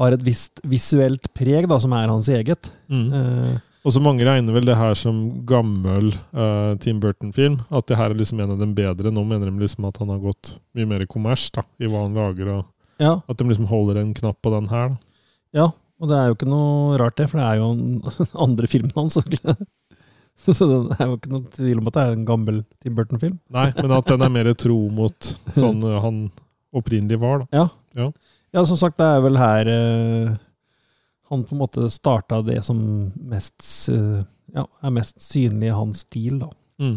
har et visst visuelt preg, da, som er hans eget.
Mm.
Eh,
Og så mange regner vel det her som gammel eh, Tim Burton-film. At det her er liksom en av dem bedre. Nå mener de liksom at han har gått mye mer i kommers da, i hva han lager. og
ja,
At de liksom holder en knapp på den her. da.
Og det er jo ikke noe rart, det, for det er jo den andre filmen hans. Så så det er jo ikke noe tvil om at det er en gammel Tim Burton-film.
Nei, men at den er mer tro mot sånn eh, han opprinnelig var. da.
Ja, som sagt, det er vel her eh, han på en måte starta det som mest, eh, ja, er mest synlig i hans stil. Da.
Mm.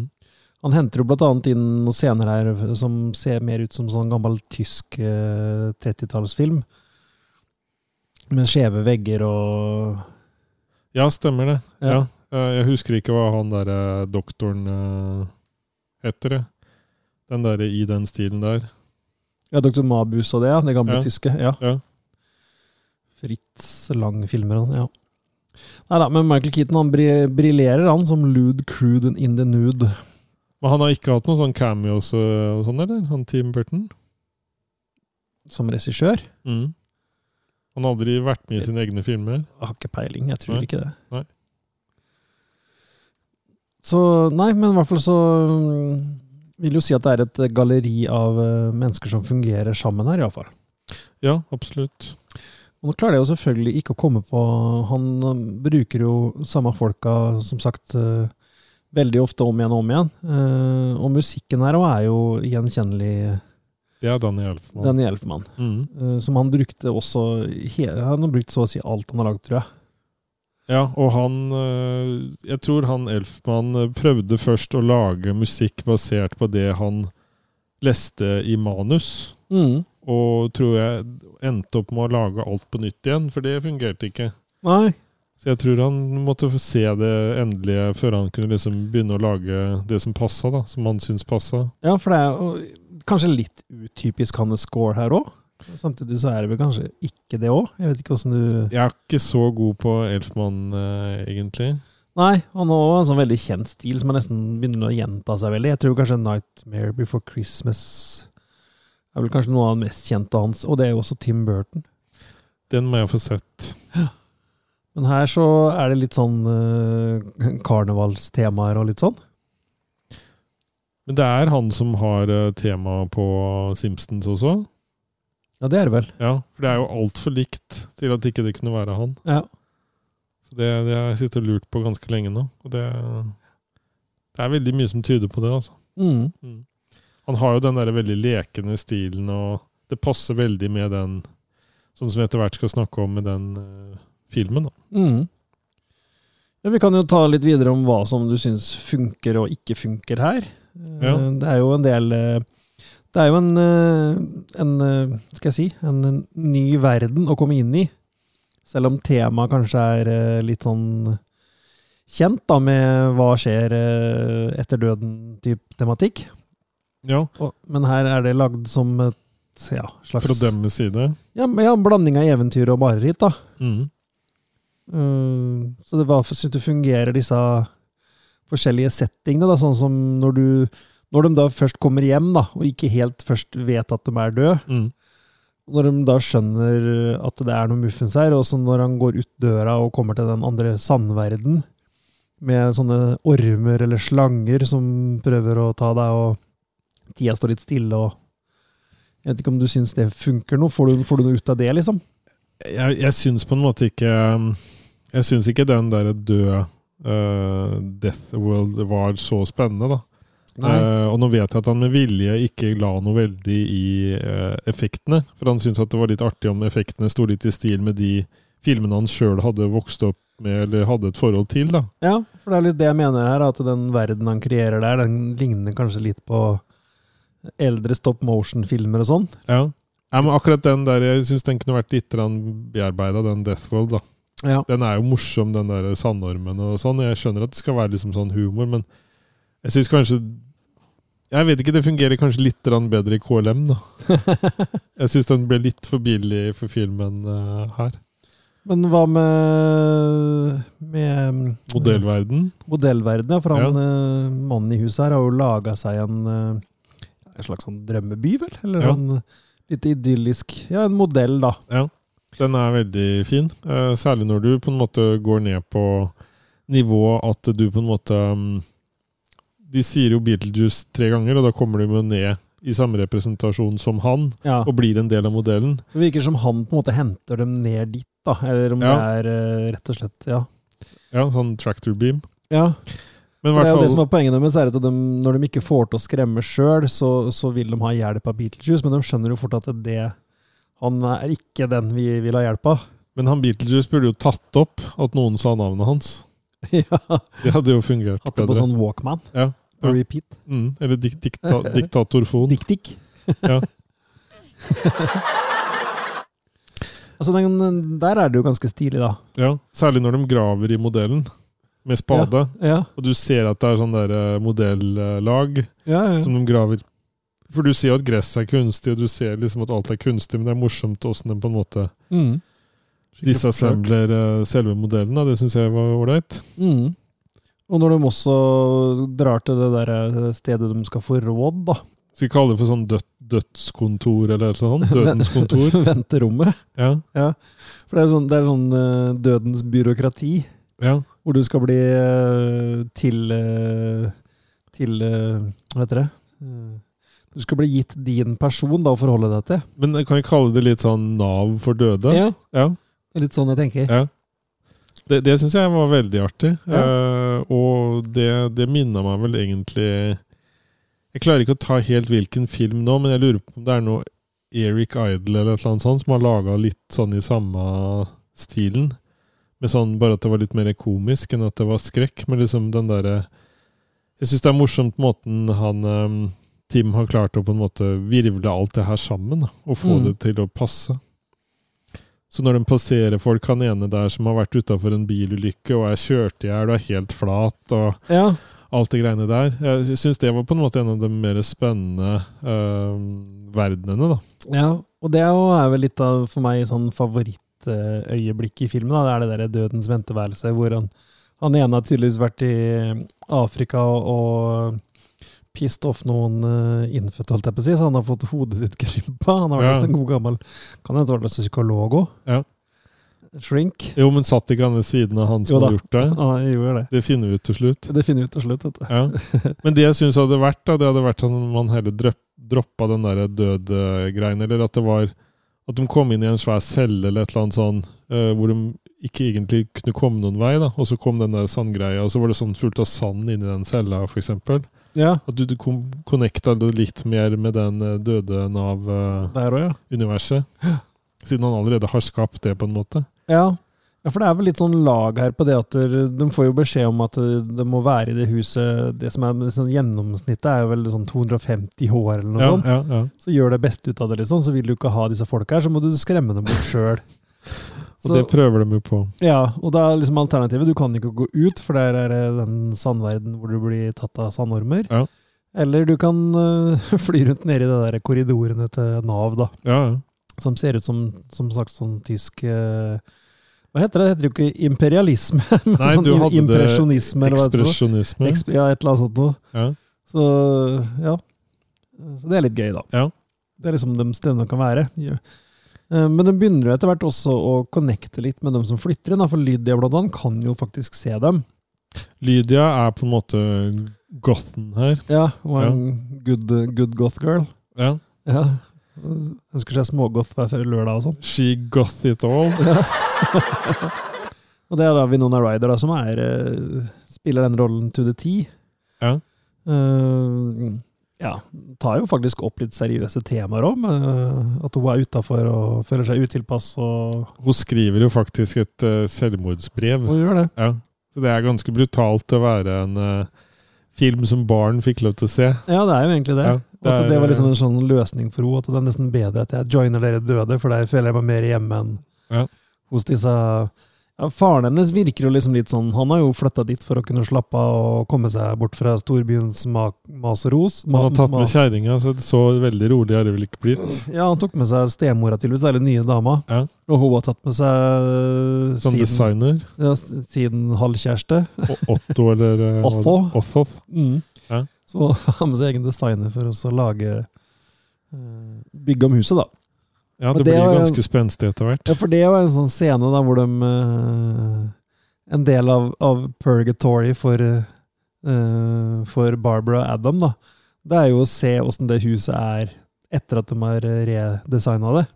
Han henter jo blant annet inn noen scener her eh, som ser mer ut som sånn gammel tysk eh, 30-tallsfilm. Med skjeve vegger og
Ja, stemmer det.
Ja.
Ja. Eh, jeg husker ikke hva han derre doktoren eh, heter. jeg. Den derre i den stilen der.
Ja, Dr. Mabus og det, ja. Det gamle
Ja.
tyske. Ja.
Ja.
Fritz Lang-filmer og ja. Nei da, men Michael Keaton han bri- briljerer, han, som Lude Crude and In The Nude.
Men han har ikke hatt noen sånn cameos eh, og sånn, eller? Han Tim Burton?
Som regissør.
Mm. Han har aldri vært med i sine egne filmer.
Jeg har ikke peiling, jeg tror
Nei.
ikke det.
Nei.
Så nei, men i hvert fall så mm, vil jo si at det er et eh, galleri av eh, mennesker som fungerer sammen her, iallfall.
Ja, absolutt.
Og nå klarer jeg jo selvfølgelig ikke å komme på Han eh, bruker jo samme folka, som sagt, eh, veldig ofte om igjen og om igjen. Eh, Og musikken her også er jo gjenkjennelig
Det er Danny Elfman.
Danny Elfman.
Mhm.
eh, Som han brukte også he- Han har brukt så å si alt han har lagd, tror jeg.
Ja, og han øh, Jeg tror han Elfman øh, prøvde først å lage musikk basert på det han leste i manus, og tror jeg endte opp med å lage alt på nytt igjen, for det fungerte ikke.
Nei.
Så jeg tror han måtte få se det endelige før han kunne liksom begynne å lage det som passa, da. Som han syntes passa.
Ja, for det er jo kanskje litt utypisk hans score her òg. Samtidig så er det vel kanskje ikke det òg. Jeg vet ikke åssen du
Jeg er ikke så god på Elfman, øh, egentlig.
Nei, han har òg en sånn veldig kjent stil som er nesten begynner å gjenta seg veldig. Jeg tror kanskje 'Nightmare Before Christmas' er vel kanskje noe av det mest kjente hans. Og det er jo også Tim Burton.
Den må jeg få sett.
Men her så er det litt sånn eh, karnevalstemaer og litt sånn.
Men det er han som har øh, tema på Simpsons også.
Ja, det er det vel.
Ja, for det er jo altfor likt til at ikke det kunne være han.
Ja.
Så det, det har jeg sittet og lurt på ganske lenge nå. Og det, det er veldig mye som tyder på det. altså.
Mm.
Han har jo den der veldig lekende stilen, og det passer veldig med den Sånn som vi etter hvert skal snakke om med den eh, filmen. da.
Mm. Ja, vi kan jo ta litt videre om hva som du syns funker og ikke funker her. Eh,
Ja.
Det er jo en del eh, Det er jo en, eh, en eh, Skal jeg si en en ny verden å komme inn i. Selv om temaet kanskje er eh, litt sånn kjent, da, med hva skjer eh, etter døden-type tematikk.
Ja,
Og- Men her er det lagd som et ja, slags
Fra deres side.
Ja, men ja, en blanding av eventyr og mareritt, da.
Mm.
Eh, Så det, hva syns du fungerer disse forskjellige settingene? Da? Sånn som når du når de da først kommer hjem, da, og ikke helt først vet at de er døde.
Mm.
Når de da skjønner at det er noe muffens her, og så når han går ut døra og kommer til den andre sandverden med sånne ormer eller slanger som prøver å ta deg, og tida står litt stille og Jeg vet ikke om du syns det funker noe? Får du, får du noe ut av det, liksom?
Jeg, jeg syns på en måte ikke um, Jeg syns ikke den derre døde eh, Death World var så spennende, da. Eh, og nå vet jeg at han med vilje ikke la noe veldig i eh, effektene. For han syntes at det var litt artig om effektene sto litt i stil med de filmene han sjøl hadde vokst opp med eller hadde et forhold til. da.
Ja, for det er litt det jeg mener her, at den verden han kreerer der, den ligner kanskje litt på eldre stop motion-filmer og sånn.
Ja. Ja, men akkurat den der, Jeg syns den kunne vært litt bearbeida, den Deathworld. da.
Ja.
Den er jo morsom, den der sandormen og sånn. Jeg skjønner at det skal være liksom sånn humor, men jeg syns kanskje Jeg vet ikke, det fungerer kanskje litt grann bedre i KLM, da. jeg syns den ble litt for billig for filmen eh, her.
Men hva med, med
Modellverden.
modellverdenen? For han eh, mannen i huset her har jo laga seg en, eh, en slags sånn drømmeby, vel? Eller
Ja.
sånn litt idyllisk Ja, en modell, da.
Ja. Den er veldig fin. eh, Særlig når du på en måte går ned på nivå at du på en måte mm, De sier jo Beetlejuice tre ganger, og da kommer de jo ned i samme representasjon som han,
Ja.
og blir en del av modellen.
Det virker som han på en måte henter dem ned dit, da. Eller om
Ja.
det er eh, rett og slett Ja.
Ja, sånn tractor beam.
ja.
Men i
For Det
hvert
er jo det som
fall
er poenget deres, er at de, når de ikke får til å skremme sjøl, så, så vil de ha hjelp av Beetlejuice, men de skjønner jo fort at det han er ikke den vi vil ha hjelp av.
Men han Beetlejuice burde jo tatt opp at noen sa navnet hans.
ja,
Det hadde jo fungert
Hatt det på
bedre.
sånn Walkman.
Ja.
På repeat.
Mm, eller dik dikta diktatorfon.
Diktik.
Ja.
altså, den, der er det jo ganske stilig, da.
ja. Særlig når de graver i modellen med spade.
Ja,
Og du ser at det er sånn der eh, modellag
ja, ja.
som de graver. For du ser jo at gresset er kunstig, og du ser liksom at alt er kunstig, men det er morsomt åssen de på en måte
Mm.
disassembler eh, selve modellen. da. Det syns jeg var ålreit.
Mm. Og når de også drar til det der stedet de skal få råd, da.
Skal vi kalle det for sånn død, dødskontor eller noe sånt. Dødens kontor.
Venterommet.
Ja,
Ja. For det er sånn, det er sånn eh, dødens byråkrati,
ja.
hvor du skal bli eh, til eh, Til eh, Hva heter det? Eh, Du skal bli gitt din person da, å forholde deg til.
Men jeg kan jeg kalle det litt sånn Nav for døde?
Ja.
Ja.
Det er litt sånn jeg tenker.
ja. Det, det syns jeg var veldig artig.
Ja.
Eh, og det, det minna meg vel egentlig Jeg klarer ikke å ta helt hvilken film nå, men jeg lurer på om det er noe Eric Idle eller et eller annet sånt som har laga litt sånn i samme stilen. Med sånn Bare at det var litt mer komisk enn at det var skrekk. Men liksom den derre Jeg syns det er morsomt måten han eh, Tim har klart å på en måte virvle alt det her sammen, da, og få
Mm.
det til å passe. Så når de passerer folk, han ene der som har vært utafor en bilulykke og er kjørt i hjel og er helt flat og
Ja.
alt det greiene der Jeg syns det var på en måte en av de mer spennende eh, verdenene, da.
Ja, og det er jo- er vel litt av for meg sånn favorittøyeblikk i filmen. Da. Det er det der dødens venteværelse, hvor han, han ene har tydeligvis vært i Afrika og pissed off noen eh, innfødte, holdt jeg på å si, så han har fått hodet sitt krympa. Han har vært
Ja.
en god gammel Kan hende han var psykolog òg.
Ja.
Shrink.
Jo, men satt ikke han ved siden av han som
Jo da.
har gjort det?
Ja, jeg gjør det.
Det finner vi ut til slutt.
Det finner vi ut til slutt, vet du.
Ja. Men det jeg syns hadde vært, da, det hadde vært at man heller drøp- droppa den der død-greien, eller at det var at de kom inn i en svær celle eller et eller annet sånn, eh, hvor de ikke egentlig kunne komme noen vei, da. Og så kom den der sandgreia, og så var det sånn fullt av sand inni den cella, for eksempel.
Ja,
At du, du kom- connecta det litt mer med den eh, døde eh, Nav-universet.
der òg, ja.
Siden han allerede har skapt det, på en måte.
Ja. ja, for det er vel litt sånn lag her på det at der- de får jo beskjed om at det må være i det huset Det som er med sånn gjennomsnittet, er jo vel sånn 250 hår eller noe
Ja,
sånt.
ja, ja.
Så gjør det beste ut av det, liksom. Så vil du ikke ha disse folka her, så må du skremme dem bort sjøl.
Og det prøver de jo på.
Ja, og da er liksom alternativet Du kan ikke gå ut, for der er det den sandverden hvor du blir tatt av sandormer.
Ja.
Eller du kan øh, fly rundt nede i de der korridorene til Nav, da.
Ja, ja.
Som ser ut som, som sagt, sånn tysk øh, Hva heter det? Det heter jo ikke imperialisme, men
Nei,
sånn
du hadde det
impresjonisme. eller hva heter det?
Ekspresjonisme.
Eksp ja, et eller annet sånt noe.
Ja.
Så ja. Så det er litt gøy, da.
Ja.
Det er liksom de stedene de kan være. Ja. Eh, Men de begynner jo etter hvert også å connecte litt med dem som flytter inn. da, For Lydia blant annet kan jo faktisk se dem.
Lydia er på en måte gothen her.
Ja, Hun er
Ja.
en good, good goth girl.
Ja.
Ja. Hun Ønsker seg smågoth hver før lørdag og sånn.
She goth it all.
Og det er da Vinona Ryder da, som er, eh, spiller den rollen to the T.
Ja.
Eh, ja. Tar jo faktisk opp litt seriøse temaer òg, at hun er utafor og føler seg utilpass. og
Hun skriver jo faktisk et eh, selvmordsbrev.
Hun gjør det.
Ja. Så det er ganske brutalt å være en eh, film som barn fikk lov til å se.
Ja, det er jo egentlig det.
Ja,
Og at
det er-
det var liksom en sånn løsning for henne. At det er nesten bedre at jeg joiner dere døde, for der føler jeg meg mer hjemme enn
Ja.
hos disse ja, Faren hennes virker jo liksom litt sånn Han har jo flytta dit for å kunne slappe av og komme seg bort fra storbyens ma mas og ros. Ma-
Man har tatt
ma-
med kjerringa, så det så veldig rolig har det vel ikke blitt.
Ja, han tok med seg stemora, tydeligvis, eller den nye dama.
Ja.
Og hun har tatt med seg øh,
Som
siden,
designer.
ja, s- siden halvkjæreste.
Og Otto eller eh,
Otho.
Othoth.
Ja.
Mm. Ja.
Så han har med seg egen designer for oss å lage øh, Bygge om huset, da.
Ja,
Og
det
det
blir
var-
ganske spenstig etter hvert.
Ja, for det var en sånn scene da hvor de eh, En del av, av purgatory for, eh, for Barbara og Adam, da. Det er jo å se åssen det huset er etter at de har redesigna det.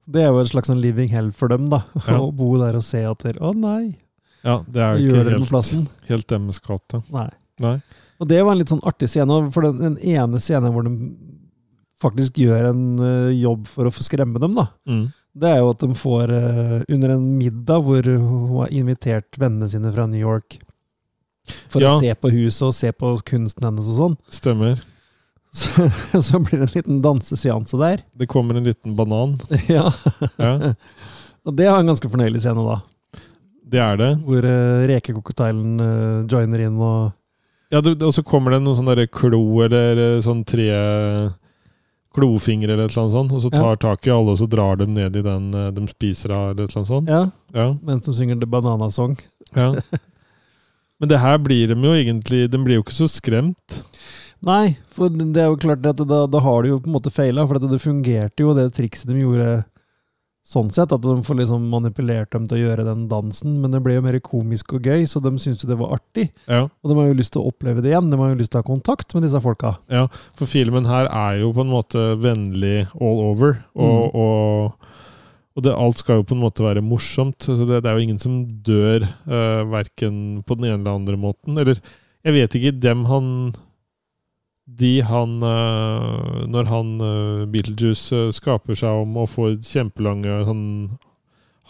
Så Det er jo en slags sånn living hell for dem, da.
Ja.
Å bo der og se at Å nei,
Ja, det er jo
gjør dere
ikke
den plassen?
helt, helt deres gate.
Nei.
Nei.
Og det var en litt sånn artig scene, og for den, den ene scenen hvor de faktisk gjør en eh, jobb for å få skremme dem, da.
Mm.
Det er jo at de får eh, under en middag hvor hun har invitert vennene sine fra New York for
Ja.
å se på huset og se på kunsten hennes og sånn.
Stemmer.
Så, så blir det en liten danseseanse der.
Det kommer en liten banan.
Ja.
Ja,
Og det var en ganske fornøyelig scene, da.
det er det.
Hvor uh, rekekokoteilen eh, joiner inn og
Ja, det, og så kommer det noen sånne der klo eller eh, sånn tre klofingre eller et eller annet sånt, og så tar tak i alle og så drar dem ned i den eh, de spiser av eller et eller annet sånt.
Ja,
Ja.
mens de synger The Banana Song.
ja. Men det her blir de jo egentlig De blir jo ikke så skremt.
Nei, for det er jo klart at da, da har du jo på en måte feila, for at det fungerte jo det trikset de gjorde sånn sett, at de får liksom manipulert dem til å gjøre den dansen, men det ble jo mer komisk og gøy, så de syntes jo det var artig.
Ja.
Og de har jo lyst til å oppleve det igjen, de har jo lyst til å ha kontakt med disse folka.
Ja, for filmen her er jo på en måte vennlig all over. Og, og, og det, alt skal jo på en måte være morsomt. Så det, det er jo ingen som dør uh, verken på den ene eller andre måten. Eller jeg vet ikke dem han De han eh, Når han eh, Beetlejuice eh, skaper seg om og får kjempelange sånn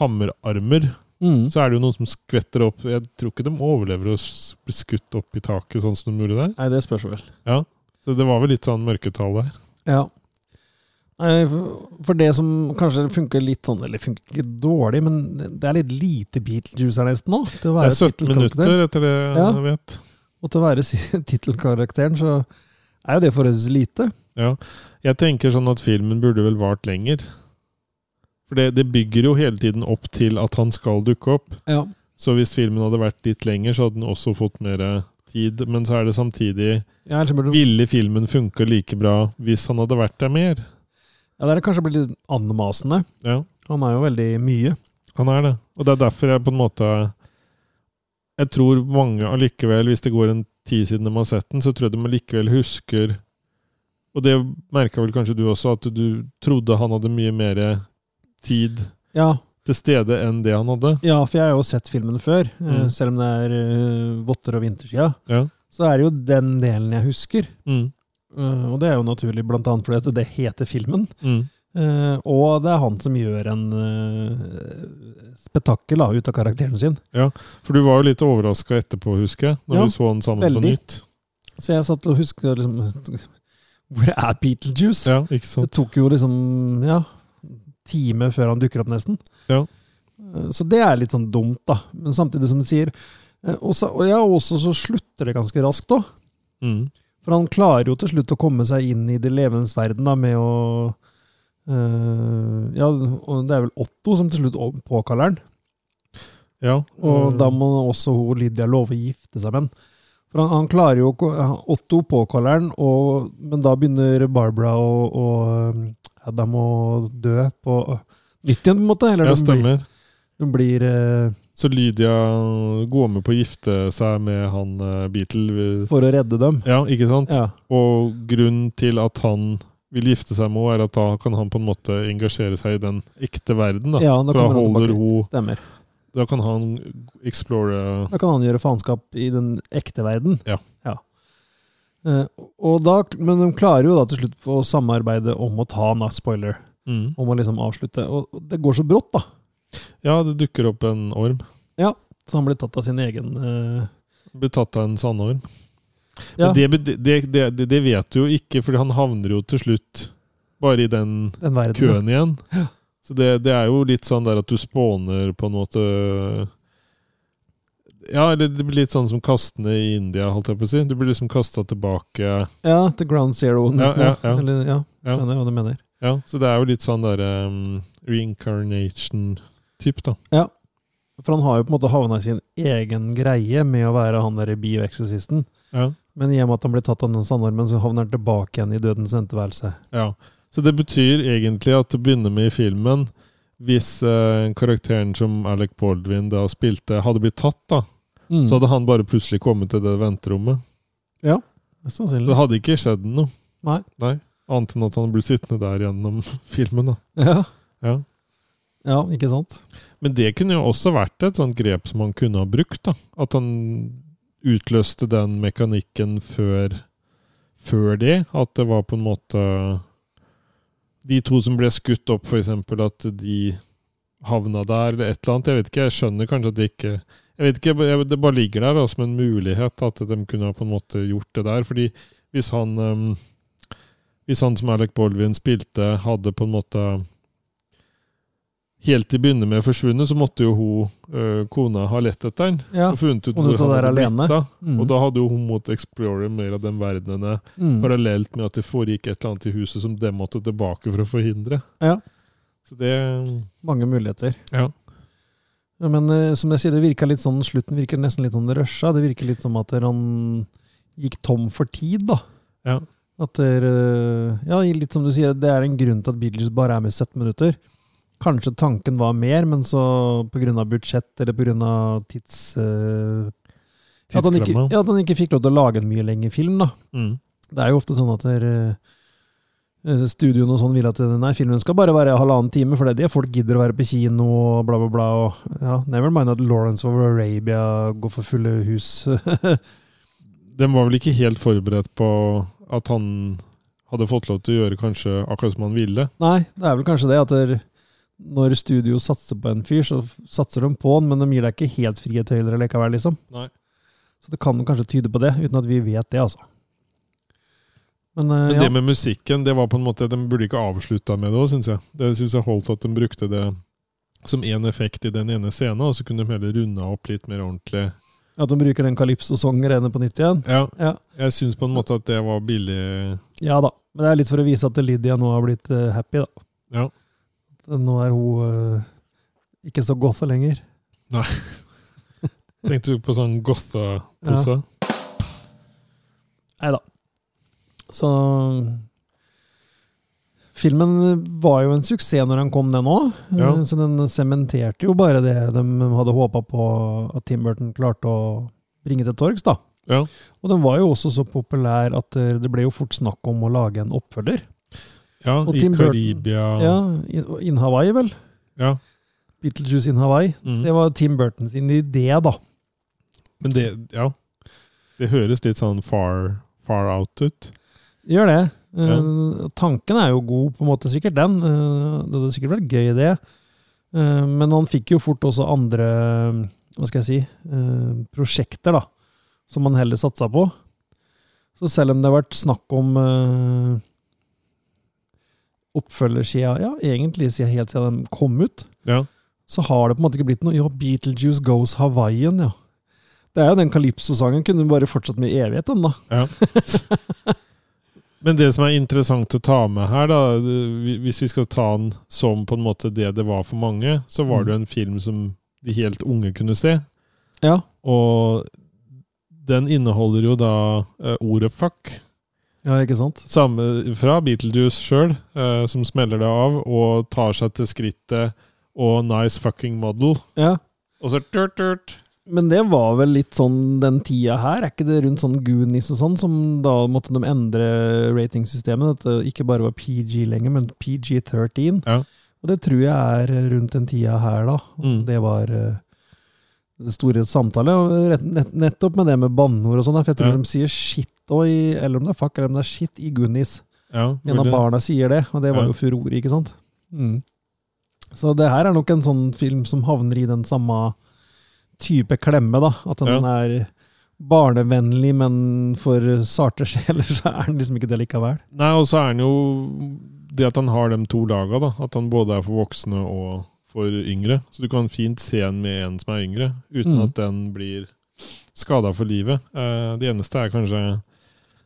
hammerarmer,
Mm.
så er det jo noen som skvetter opp Jeg tror ikke de overlever å s- bli skutt opp i taket, sånn som de gjorde der.
Nei, det spørs vel.
Så det var vel litt sånn mørketall der.
Ja. Nei, for- For det som kanskje funker litt sånn, eller funker ikke dårlig, men det er litt lite Beatlejuice her nesten nå. Til å
Det
være
er 17
tittelkarakter.
minutter, etter det
Ja.
jeg vet.
Og til å være si- tittelkarakteren, så er jo det forholdsvis lite.
Ja. Jeg tenker sånn at filmen burde vel vart lenger. For det, det bygger jo hele tiden opp til at han skal dukke opp.
Ja.
Så hvis filmen hadde vært litt lenger, så hadde den også fått mer tid. Men så er det samtidig
ellers burde det-
Ville filmen funka like bra hvis han hadde vært der mer?
ja, det er kanskje blitt litt anmasende.
Ja,
Han er jo veldig mye.
han er det. Og det er derfor jeg på en måte Jeg tror mange allikevel, hvis det går en tid siden de har sett den, så tror jeg de allikevel husker Og det merka vel kanskje du også, at du trodde han hadde mye mer tid
Ja,
til stede enn det han hadde.
ja for jeg har jo sett filmen før, eh,
Mm.
selv om det er eh, votter og vintersida.
Ja.
Så er det jo den delen jeg husker.
Mm.
Eh, og det er jo naturlig, blant annet fordi at det heter filmen.
Mm.
Eh, og det er han som gjør en eh, spetakkel da, ut av karakteren sin.
For du var jo litt overraska etterpå, husker jeg, når
Ja,
vi så den sammen på
veldig.
nytt.
Så jeg satt og huska liksom Hvor er Beetlejuice?
Ja, ikke
Det
sant?
tok jo liksom ja, time før han dukker opp, nesten.
Ja.
Eh, Så det er litt sånn dumt, da. Men samtidig som du sier eh, Og så- og ja, også så slutter det ganske raskt òg.
Mm.
For han klarer jo til slutt å komme seg inn i det levendes verden da, med å eh, Ja, og det er vel Otto som til slutt å- påkaller han.
Ja. Mm.
Og da må også hun Lydia love å gifte seg med han. For han, han klarer jo ikke å- Otto påkaller han, og, men da begynner Barbara og, og um, Adam å dø på nytt igjen, på en måte. Eller
ja,
de blir,
stemmer.
de blir eh,
Så Lydia går med på å gifte seg med han eh, Beatle.
for å redde dem.
Ja, ikke sant?
Ja.
Og grunnen til at han vil gifte seg med henne, er at da kan han på en måte engasjere seg i den ekte verden. Da.
Ja, da
For da
kommer han
holder
tilbake.
hun
Stemmer.
Da kan han explore
Da kan han gjøre faenskap i den ekte verden.
Ja.
Eh, og da, men de klarer jo da til slutt å samarbeide om å ta han, da. Spoiler.
mm.
Om å liksom avslutte. Og og det går så brått, da.
Ja, det dukker opp en orm.
Så han blir tatt av sin egen eh,
Blir tatt av en sandorm.
Ja,
Men det, bed- det, det, det, det vet du jo ikke, for han havner jo til slutt bare i den
den verden.
køen igjen. Så det, det er jo litt sånn der at du spåner på en måte Ja, eller det blir litt sånn som kastene i India, holdt jeg på å si. Du blir liksom kasta tilbake.
Ja, til Ground Zero. Nesten,
Ja,
ja,
ja, ja.
Eller, ja,
Ja.
skjønner jeg hva du mener.
Ja, så det er jo litt sånn der um, reincarnation-typ, da.
For han har jo på en måte havna i sin egen greie med å være han derre bioeksorsisten.
Ja.
Men i og med at han blir tatt av den sandormen, så havner han tilbake igjen i dødens venteværelse.
ja. Så det betyr egentlig at det begynner med i filmen Hvis eh, karakteren som Alec Baldwin da spilte, hadde blitt tatt, da,
Mm.
så hadde han bare plutselig kommet til det venterommet.
Mest
Så
sannsynlig.
det hadde ikke skjedd noe.
Mm. Nei.
Annet enn at han ble sittende der gjennom filmen, da.
Ja.
Ja.
ja, ikke sant?
Men det kunne jo også vært et sånt grep som han kunne ha brukt. da. At han utløste den mekanikken før, før det. At det var på en måte De to som ble skutt opp, f.eks., at de havna der, eller et eller annet. Jeg vet ikke, jeg skjønner kanskje at det ikke jeg vet ikke, jeg- Det bare ligger der da, som en mulighet at de kunne ha på en måte gjort det der. fordi hvis han ehm, Hvis han som Alec Baldwin spilte, hadde på en måte helt til å begynne med forsvunnet, så måtte jo hun, øh, kona ha lett etter den.
Ja.
Og funnet ut
og
hvor
ut av
han
der
hadde
alene.
blitt av.
Mm.
Og da hadde jo hun måttet explore mer av den verdenene,
Mm.
parallelt med at det foregikk et eller annet i huset som de måtte tilbake for å forhindre.
Ja.
Så det
Mange muligheter.
Ja.
Ja, men eh, som jeg sier, det virka litt sånn, slutten virker nesten litt sånn rusha. Det virker litt som at han gikk tom for tid, da.
Ja.
At det er, eh, ja, litt som du sier, det er en grunn til at Beatles bare er med i 17 minutter. Kanskje tanken var mer, men så pga. budsjett eller pga. tids... eh, at, han ikke,
Tidsklemma.
ja, at han ikke fikk lov til å lage en mye lengre film, da.
Mm.
Det er jo ofte sånn at der, eh, studioen og sånn vil at eh, nei, filmen skal bare være halvannen time, for det er det folk gidder å være på kino og bla, bla, bla. Og, ja, never mind at Lawrence of Arabia går for fulle hus.
De var vel ikke helt forberedt på at han hadde fått lov til å gjøre kanskje akkurat som han ville.
nei, det er vel kanskje det at der, når studio satser på en fyr, så f- satser de på han, men de gir deg ikke helt frie tøyler likevel, liksom.
Nei.
Så det kan kanskje tyde på det, uten at vi vet det, altså. Men, eh,
Men
ja.
det med musikken, det var på en måte De burde ikke avslutta med det òg, syns jeg. Det synes jeg holdt at de brukte det som én effekt i den ene scenen, og så kunne de heller runda opp litt mer ordentlig.
At de bruker en calypso-song rene på nytt igjen.
Ja,
Ja.
jeg syns på en måte at det var billig
Ja da. Men det er litt for å vise at Lydia nå har blitt eh, happy, da.
Ja.
Nå er hun eh, ikke så gotha lenger.
Tenkte du på sånn gotha-pose?
Nei da. Så Filmen var jo en suksess når han kom, den òg.
Ja.
Så den sementerte jo bare det de hadde håpa på at Tim Burton klarte å bringe til torgs, da.
Ja.
Og den var jo også så populær at eh, det ble jo fort snakk om å lage en oppfølger.
Ja,
Og
i
Tim Burton.
Karibia.
Ja, in, in Hawaii, vel?
Ja.
Beetlejuice in Hawaii.
Mm.
Det var Tim Burton sin idé, da.
Men det Ja. Det høres litt sånn far, far out ut.
Gjør det. Eh,
Ja.
tanken er jo god, på en måte, sikkert den. Eh, det hadde sikkert vært gøy, det. Eh, men han fikk jo fort også andre hva skal jeg si, eh, prosjekter, da. Som han heller satsa på. Så selv om det har vært snakk om uh, oppfølgersida, ja, egentlig siden- helt siden de kom ut,
Ja.
så har det på en måte ikke blitt noe Ja, Beetlejuice Goes Hawaiian, ja. Det er jo den Calypso-sangen. Kunne bare fortsatt med i evigheten, da.
Ja. Men det som er interessant å ta med her, da, det- hvis vi skal ta den som på en måte det det var for mange, så var det jo en film som de helt unge kunne se.
Ja.
Og den inneholder jo da eh, ordet fuck.
Ja, ikke sant?
Samme fra Beetlejuice sjøl, eh, som smeller det av, og tar seg til skrittet og nice fucking model.
Ja.
Og så turt, turt.
Men det var vel litt sånn den tida her, er ikke det rundt sånn Goonies og sånn, som da måtte de endre ratingsystemet, at det ikke bare var PG lenger, men PG-13.
Ja.
Og det tror jeg er rundt den tida her, da.
Mm.
Det var eh, det store samtale, og rett, nett, nettopp med det med banneord og sånn, for jeg tror
Ja.
de sier shit, og i, eller om det er fuck, eller om det er shit i Goonies.
Ja,
En av
mulig.
barna sier det, og det var
Ja.
jo furore, ikke sant? Mm. Så det her er nok en sånn film som havner i den samme type klemme, da. At den er barnevennlig, men for sarte sjeler så er den liksom ikke det likevel.
Nei, og så er han jo Det at han har de to laga, da. At han både er for voksne og for yngre. Så du kan fint se en med en som er yngre, uten
Mm.
at den blir skada for livet. Eh, det eneste er kanskje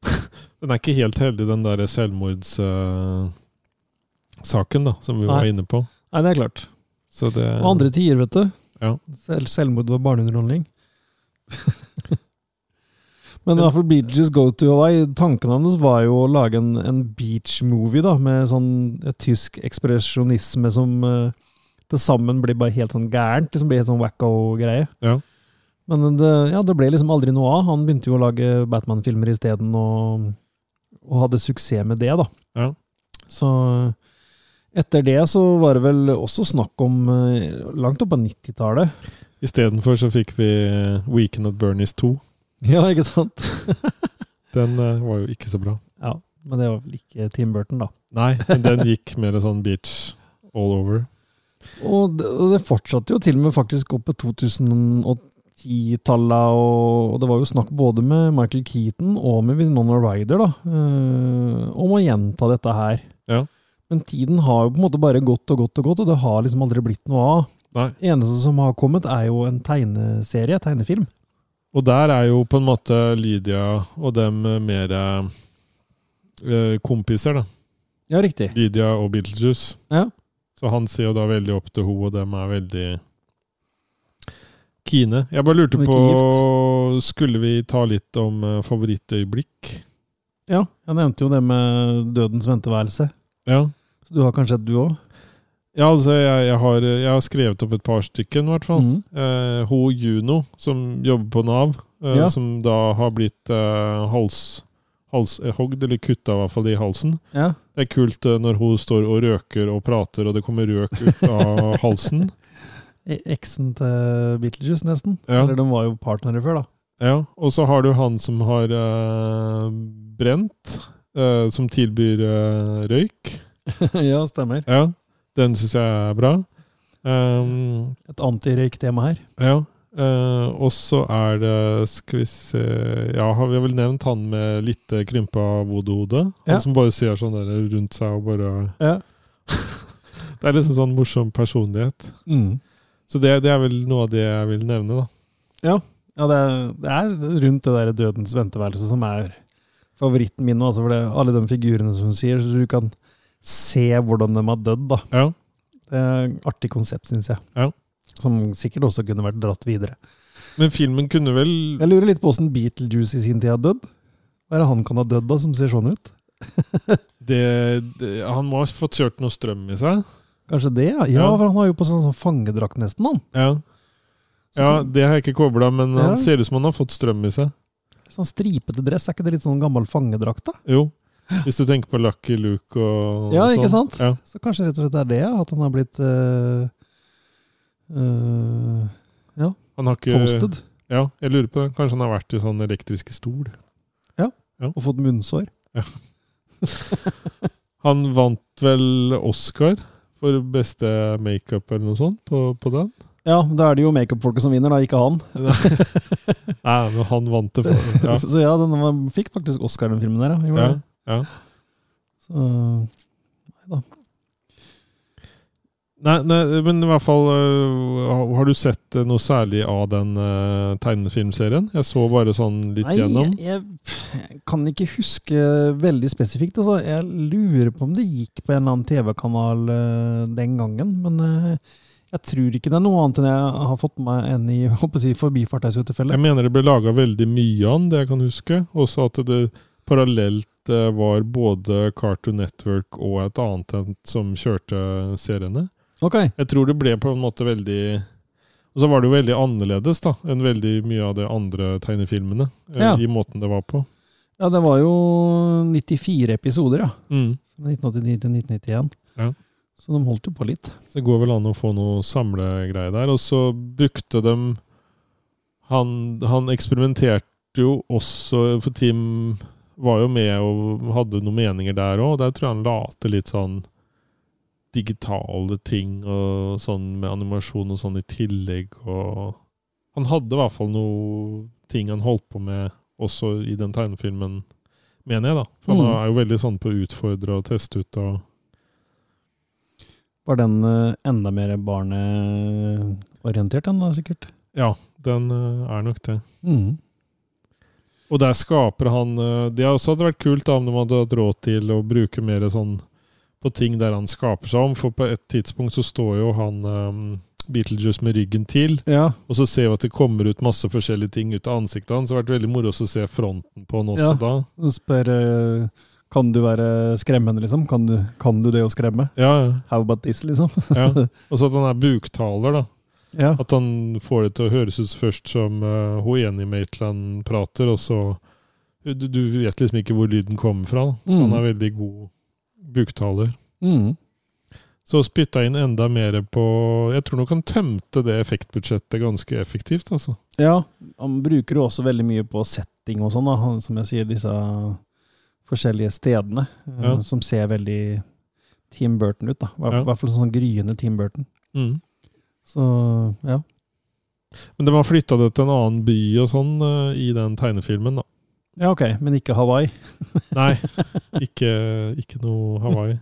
Den er ikke helt heldig, den derre selvmordssaken, da, som vi var
Nei.
inne på.
Nei, det er klart.
Så det
Og andre tider, vet du.
Eh, Ja.
Sel selvmord var barneunderholdning. Men i hvert fall Beaches Go To Hawaii, tanken hans var jo å lage en, en beach-movie da, med sånn et tysk ekspresjonisme som eh, til sammen blir bare helt sånn gærent. liksom blir helt sånn wacko-greie.
Ja.
Men det, ja, det ble liksom aldri noe av. Han begynte jo å lage Batman-filmer isteden, og, og hadde suksess med det, da.
Ja.
Så etter det så var det vel også snakk om eh, langt opp på 90-tallet.
Istedenfor så fikk vi Weekend at Bernies 2.
Ja, ikke sant?
Den eh, var jo ikke så bra.
Ja, Men det var vel ikke Tim Burton, da.
Nei, men den gikk mer sånn beach all over.
Og det, og det fortsatte jo til og med faktisk opp på 2010-tallet, og, og det var jo snakk både med Michael Keaton og med Winona Ryder da, eh, om å gjenta dette her.
Ja.
Men tiden har jo på en måte bare gått og gått og gått, og det har liksom aldri blitt noe av.
Nei.
Eneste som har kommet, er jo en tegneserie, tegnefilm.
Og der er jo på en måte Lydia og dem mer eh, kompiser, da.
Ja, riktig.
Lydia og Beetlejuice.
Ja.
Så han ser jo da veldig opp til henne, og dem er veldig kine. Jeg bare lurte
Men ikke
på Skulle vi ta litt om eh, favorittøyeblikk?
Ja, jeg nevnte jo det med dødens venteværelse.
Ja.
Så du har kanskje et, du òg?
Ja, altså, jeg, jeg, har, jeg har skrevet opp et par stykker, i hvert fall.
Mm.
Eh, Ho Juno, som jobber på Nav, eh,
Ja.
som da har blitt eh, hals, halshogd, eller kutta i hvert fall i halsen.
Ja.
Det er kult eh, når hun står og røker og prater, og det kommer røk ut av halsen.
E- Eksen til Beetlejuice, nesten.
Ja.
Eller de var jo partnere før, da.
Ja, og så har du han som har eh, brent, eh, som tilbyr eh, røyk.
ja, stemmer.
Ja, den syns jeg er bra. Um,
Et antirøyktema her.
Ja. eh, og så er det Skal vi se Ja, har vi vel nevnt han med litt eh, krympa voodoo-hode?
Ja.
Han som bare ser sånn der rundt seg og bare
Ja.
Det er liksom sånn morsom personlighet.
Mm.
Så det, det er vel noe av det jeg vil nevne, da.
Ja, det er, det er rundt det der dødens venteværelse som er favoritten min nå. Altså for det, alle de figurene som hun sier, så du kan se hvordan de har dødd. da.
Ja.
Det er et artig konsept, syns jeg.
Ja.
Som sikkert også kunne vært dratt videre.
Men filmen kunne vel
Jeg lurer litt på åssen Beetlejuice i sin tid har dødd. Hva er det han kan ha dødd av, som ser sånn ut?
det, det, Han må ha fått kjørt noe strøm i seg.
Kanskje det, ja? Ja,
Ja.
for han har jo på sånn, sånn fangedrakt nesten, han.
Ja. ja, det har jeg ikke kobla, men
Ja.
han ser ut som han har fått strøm i seg.
Sånn stripete dress, er ikke det litt sånn gammel fangedrakt, da?
Jo. Hvis du tenker på Lucky Luke og
Ja,
og
ikke
sånn.
sant?
Ja.
Så kanskje rett og slett det er det, ja, at han har blitt eh, eh,
Han har ikke
posted
Ja, jeg lurer på det. Kanskje han har vært i sånn elektriske stol.
og fått munnsår.
Han vant vel Oscar for beste makeup eller noe sånt på, på den?
Ja, da er det jo makeupfolket som vinner, da, ikke han.
Nei, men han vant det for ja.
Så, så ja, den var, fikk faktisk Oscar, den filmen der. Ja. Gjorde
Ja,
det.
ja.
Så, nei da.
Nei, nei, men i hvert fall øh, Har du sett øh, noe særlig av den øh, tegnefilmserien? Jeg så bare sånn litt
Nei,
gjennom.
jeg, jeg kan ikke huske veldig spesifikt. Altså. Jeg lurer på om det gikk på en eller annen TV-kanal eh, den gangen, men eh, jeg tror ikke det er noe annet enn jeg har fått med meg enn i jeg håper å si, forbifart her, så tilfelle.
Jeg mener det ble laga veldig mye av den, det jeg kan huske. Også at det parallelt øh, var både Cartoon Network og et annet enn som kjørte seriene.
Ok,
Jeg tror det ble på en måte veldig Og så var det jo veldig annerledes da, enn veldig mye av de andre tegnefilmene. eh,
Ja.
I måten det var på.
ja, det var jo 94 episoder, ja.
Mm.
Fra 1989 til 1991.
Ja.
Så de holdt jo på litt.
Så det går vel an å få noe samlegreie der. Og så brukte de han, han eksperimenterte jo også, for Tim var jo med og hadde noen meninger der òg. Der tror jeg han la til litt sånn digitale ting og sånn med animasjon og sånn i tillegg. Og han hadde i hvert fall noe ting han holdt på med også i den tegnefilmen, mener jeg, da. For han
Mm.
er jo veldig sånn på å utfordre og teste ut og
Var den eh, enda mer barneorientert, den da, sikkert?
Ja, den eh, er nok det.
Mm.
Og der skaper han eh, Det hadde også hadde vært kult da, om de hadde hatt råd til å bruke mer sånn på ting der han skaper seg om, for på et tidspunkt så står jo han eh, Beetlejuice med ryggen til,
Ja,
og så ser vi at det kommer ut masse forskjellige ting ut av ansiktet hans. Det hadde vært veldig moro å se fronten på han også
Ja.
da.
du spør eh, kan du være skremmende, liksom? Kan du, kan du det å skremme?
Ja,
How about this, liksom?
ja. Og så at han er buktaler, da.
ja.
At han får det til å høres ut først som uh, hun enige Maitland prater, og så du, du vet liksom ikke hvor lyden kommer fra. Da.
Mm.
Han er veldig god buktaler.
Mm.
Så spytta jeg inn enda mer på Jeg tror nok han tømte det effektbudsjettet ganske effektivt, altså.
ja. Han bruker jo også veldig mye på setting og sånn, da. Han- som jeg sier, disse forskjellige stedene eh,
Ja.
som ser veldig Tim Burton ut, da. I
Ja.
hvert fall sånn gryende Tim Burton. Så ja.
Mm. Men de har flytta det til en annen by og sånn eh, i den tegnefilmen, da.
Ja, ok, men ikke Hawaii.
Nei, ikke, ikke noe Hawaii.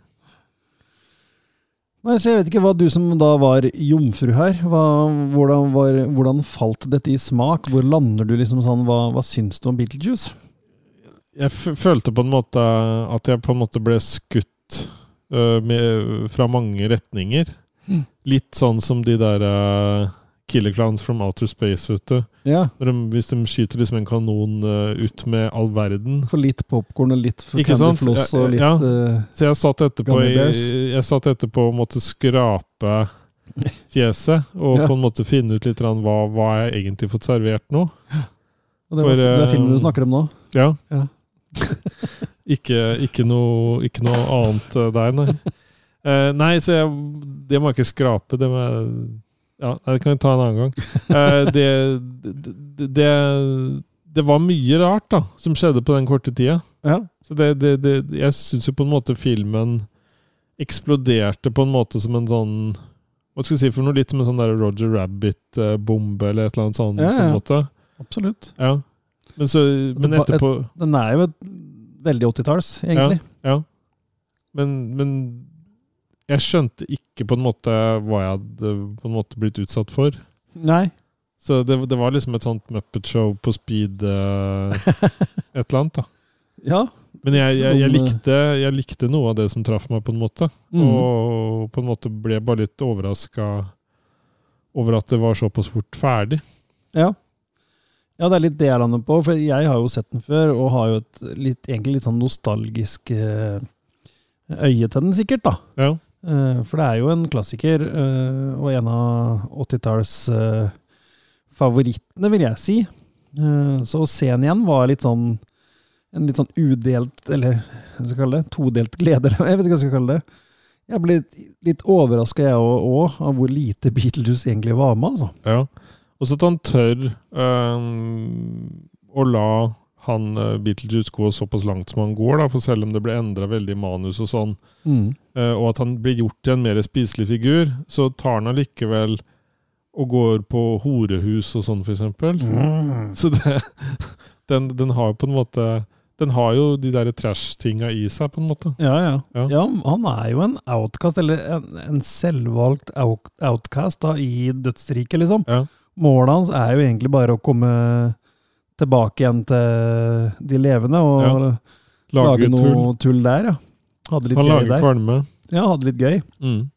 Nei, så Jeg vet ikke hva du som da var jomfru her, hva, hvordan, var, hvordan falt dette i smak? Hvor lander du liksom sånn, hva, hva syns du om Beetlejuice?
Jeg f følte på en måte at jeg på en måte ble skutt eh, med, fra mange retninger. Litt sånn som de der eh, Killer Clowns from Outer Space, vet du.
Ja.
Når de, hvis de skyter liksom en kanon eh, ut med all verden.
For litt popkorn og litt for
Ikke sant?
Candy Floss og litt
Ja,
eh,
Så jeg satt etterpå
Gummy
jeg,
bears.
jeg satt etterpå og måtte skrape fjeset, og
Ja.
på en måte finne ut litt grann hva, hva jeg egentlig fått servert nå.
og Det,
for,
var, det er
eh,
filmen du snakker om nå.
Ja.
Ja.
ikke, ikke, noe, ikke noe annet eh, der, nei. Eh, nei, så jeg, det må jeg ikke skrape. Det må jeg Ja, nei, det kan jeg ta en annen gang. Eh, det, det, det, det var mye rart da, som skjedde på den korte tida.
Ja.
Så det, det, det, jeg syns jo på en måte filmen eksploderte på en måte som en sånn Hva skal jeg si for noe? Litt som en sånn der Roger Rabbit-bombe eller et eller annet sånt.
Ja,
på
ja.
en måte.
Absolutt.
Ja. Men, så, men
Det var et-
etterpå
Den er jo et veldig 80-talls, egentlig.
Ja, ja. Men, men jeg skjønte ikke på en måte hva jeg hadde på en måte blitt utsatt for.
Nei.
Så det, det var liksom et sånt Muppet Show på speed eh, et eller annet, da.
Ja.
Men jeg, jeg, jeg,
Sånn, eh,
likte, jeg likte noe av det som traff meg, på en måte.
Mm.
Og på en måte ble jeg bare litt overraska over at det var såpass fort ferdig.
Ja. ja, det er litt det jeg lander på. For jeg har jo sett den før, og har jo et litt, egentlig litt sånn nostalgisk eh, øye til den, sikkert. da.
Ja.
Eh, For det er jo en klassiker, eh, og en av 80-tallsfavorittene, vil jeg si. Eh, Så å se den igjen var litt sånn en litt sånn udelt, eller hva skal jeg kalle det, todelt glede, eller jeg vet ikke hva jeg skal kalle det. Jeg ble litt, litt overraska, jeg òg, av hvor lite Beatles egentlig var med, altså.
Ja. Og så at han tør øhm, å la han eh, Beetlejuice gå såpass langt som han går, da, for selv om det ble endra veldig i manus og sånn,
Mm.
eh, og at han blir gjort til en mer spiselig figur, så tar han allikevel og går på horehus og sånn, for eksempel.
Mm.
Så det, den, den har jo på en måte Den har jo de derre trash-tinga i seg, på en måte.
Ja, ja,
Ja.
ja. han er jo en outcast, eller en, en selvvalgt out, outcast da, i dødsriket, liksom.
Ja.
Målet hans er jo egentlig bare å komme tilbake igjen til de levende, og
Ja.
lage
Lager tull.
noe tull der, ja. Hadde litt
Han
gøy
lager
der.
kvalme.
Ja, hadde litt gøy.
Mm.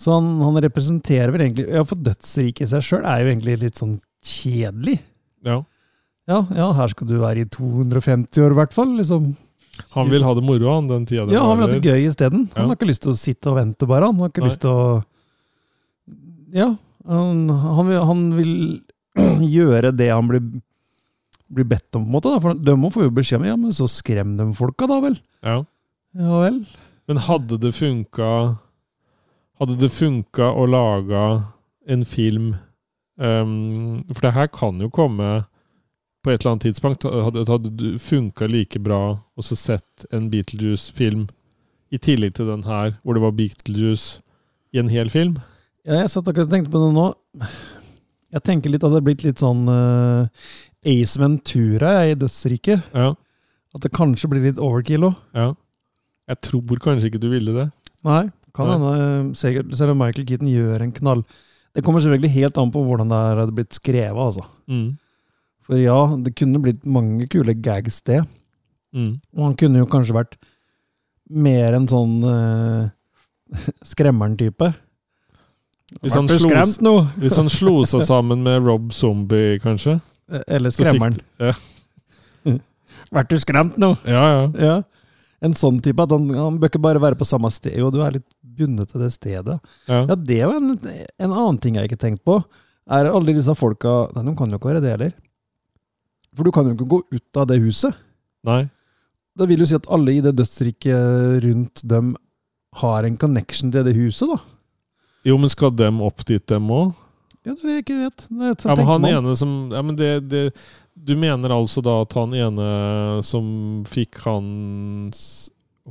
Så han, han representerer vel egentlig Ja, for dødsriket i seg sjøl er jo egentlig litt sånn kjedelig.
Ja.
Ja, ja, her skal du være i 250 år, i hvert fall. Liksom.
Han vil ha det moro, han, den tida det
Ja, han vil ha
varer.
det gøy isteden.
Ja.
Han har ikke lyst til å sitte og vente, bare. Han har ikke
Nei.
lyst til å Ja. Han, han, vil, han vil gjøre det han blir, blir bedt om, på en måte. Da. For de må få jo beskjed om Ja, men så skrem de folka, da vel.
Ja.
Ja vel.
Men hadde det funka Hadde det funka å lage en film ehm, For det her kan jo komme på et eller annet tidspunkt. Hadde, hadde det funka like bra å så sett en Beetlejuice-film i tillegg til den her, hvor det var Beetlejuice i en hel film?
Ja, jeg satt akkurat og tenkte på det nå. Jeg tenker litt at det har blitt litt sånn eh, Ace Ventura jeg, i dødsriket.
Ja.
At det kanskje blir litt overkill òg.
ja. Jeg tror kanskje ikke du ville det.
Nei, kan
Nei.
hende. eh, sikkert- Selv om Michael Keaton gjør en knall. Det kommer selvfølgelig helt an på hvordan det her hadde blitt skrevet. altså.
Mm.
For ja, det kunne blitt mange kule gags, det.
Mm.
Og han kunne jo kanskje vært mer en sånn uh, skremmeren-type.
Hvis han
Vært
slo-
skremt nå!
Hvis han slo seg sammen med Rob Zombie, kanskje?
Eh, Eller
så fikk-
skremmeren.
Ja,
Vært du skremt nå?
ja. ja.
Ja. En sånn type at han, han bør ikke bare være på samme sted. Jo, du er litt bundet til det stedet.
ja.
Ja, det er jo en, en annen ting jeg ikke har tenkt på. Er alle disse folka Nei, de kan jo ikke være det heller. For du kan jo ikke gå ut av det huset.
Nei.
Det vil jo si at alle i det dødsriket rundt dem har en connection til det huset, da.
Jo, men skal dem opp dit, dem òg?
Ja, det er det jeg ikke vet. Det er et sånt
Ja, men han
tenkemann.
ene som ja, men det, det, Du mener altså da at han ene som fikk hans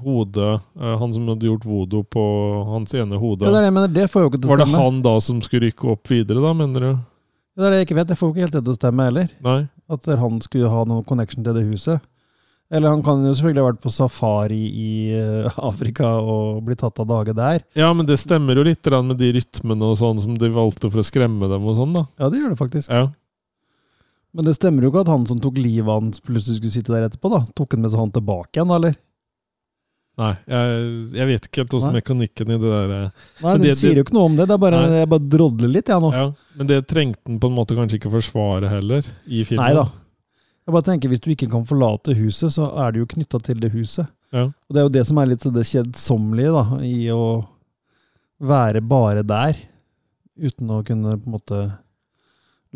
hode eh, Han som hadde gjort vodo på hans ene hode
ja, det er det jeg mener. Det får jo ikke til å
Var det
stemme.
han da som skulle rykke opp videre, da, mener du?
Ja, Det er det jeg ikke vet. Det får jo ikke helt det til å stemme heller.
Nei?
At han skulle ha noen connection til det huset. Eller han kan jo selvfølgelig ha vært på safari i eh, Afrika og blitt tatt av dage der.
Ja, men det stemmer jo litt grann med de rytmene og sånn som de valgte for å skremme dem og sånn, da.
Ja, det gjør det faktisk.
Ja.
Men det stemmer jo ikke at han som tok livet av hans, plutselig skulle sitte der etterpå, da. Tok han med seg han tilbake igjen, da, eller?
Nei, jeg, jeg vet ikke helt åssen
Nei.
mekanikken i det der eh,
Nei,
Men
de
det-
sier jo ikke noe om det. Det er bare,
Nei.
jeg bare drodler litt, jeg nå.
ja. Men det trengte han på en måte kanskje ikke å forsvare heller, i filmen.
Nei da. Jeg bare tenker, Hvis du ikke kan forlate huset, så er du jo knytta til det huset.
Ja.
Og Det er jo det som er litt så det kjedsommelige da, i å være bare der, uten å kunne på en måte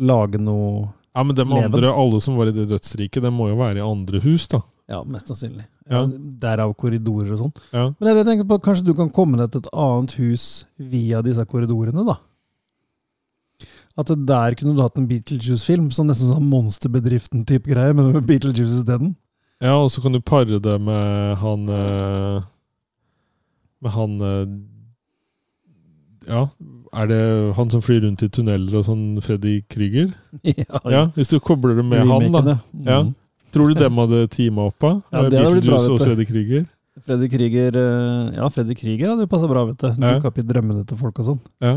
lage noe
Ja, men de
Leven.
andre, alle som var i det dødsriket, de må jo være i andre hus, da.
Ja, mest sannsynlig.
Ja.
Derav korridorer og sånn.
Ja.
Men jeg tenker på, kanskje du kan komme deg til et annet hus via disse korridorene, da? At det der kunne du hatt en Beetlejuice-film, sånn nesten sånn Monsterbedriften-type greier, men med Beetlejuice isteden.
Ja, og så kan du pare det med han eh, Med han eh, Ja, er det han som flyr rundt i tunneler og sånn, Freddy Krüger? Ja, hvis du kobler det med han, da. Ja.
Mm.
Tror du dem hadde teama opp av?
Ja,
Med
det hadde blitt bra,
Beetlejuice og
vet
Freddy Krüger?
Freddy Krüger eh, Ja, Freddy Krüger hadde jo passa bra, vet du. Som
Ja.
dukka opp i drømmene til folk og sånn.
Ja.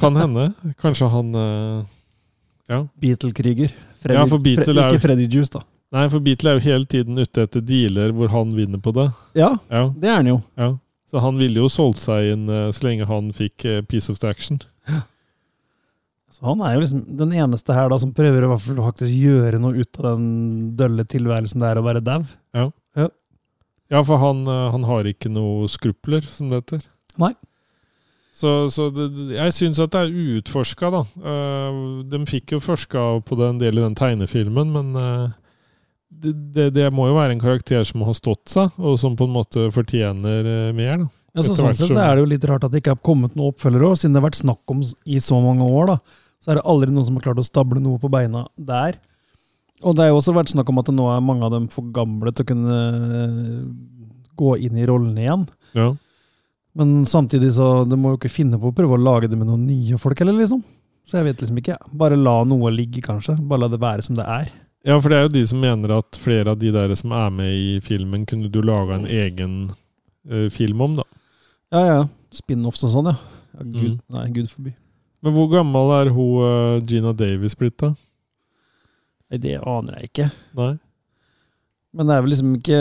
Kan hende. Kanskje han eh,
Beatle-Krüger.
Ja, for Beatle er jo-
Ikke Freddy Juice, da.
Nei, for Beatle er jo hele tiden ute etter dealer hvor han vinner på det.
Ja,
Ja,
det er han jo.
ja. Så han ville jo solgt seg inn eh, så lenge han fikk eh, piece of the action.
Så han er jo liksom den eneste her da som prøver å i hvert fall faktisk gjøre noe ut av den dølle tilværelsen det er å være dau.
Ja, for han, eh, han har ikke noe skrupler, som det heter.
Nei.
Så, så det, det- jeg syns at det er uutforska, da. Eh, De fikk jo forska på det en del i den tegnefilmen, men eh, det, det, det må jo være en karakter som har stått seg, og som på en måte fortjener eh, mer, da.
Ja, så
Etter
sånn
hvert
sett
så-
så er det jo litt rart at det ikke har kommet noen oppfølgere òg, siden det har vært snakk om s- i så mange år. da. Så er det aldri noen som har klart å stable noe på beina der. Og det har jo også vært snakk om at nå er mange av dem for gamle til å kunne eh, gå inn i rollene igjen.
Ja.
Men samtidig så du må jo ikke finne på å prøve å lage det med noen nye folk heller, liksom. Så jeg vet liksom ikke. jeg. Bare la noe ligge, kanskje. Bare la det være som det er.
ja, for det er jo de som mener at flere av de der som er med i filmen, kunne du laga en egen eh, film om, da.
Ja, ja. Spin-offs og sånn, ja. ja Gud,
Mm.
Nei, gud forby.
Men hvor gammel er hun eh, Gina Davis blitt, da?
Nei, det aner jeg ikke.
Nei?
Men det er vel liksom ikke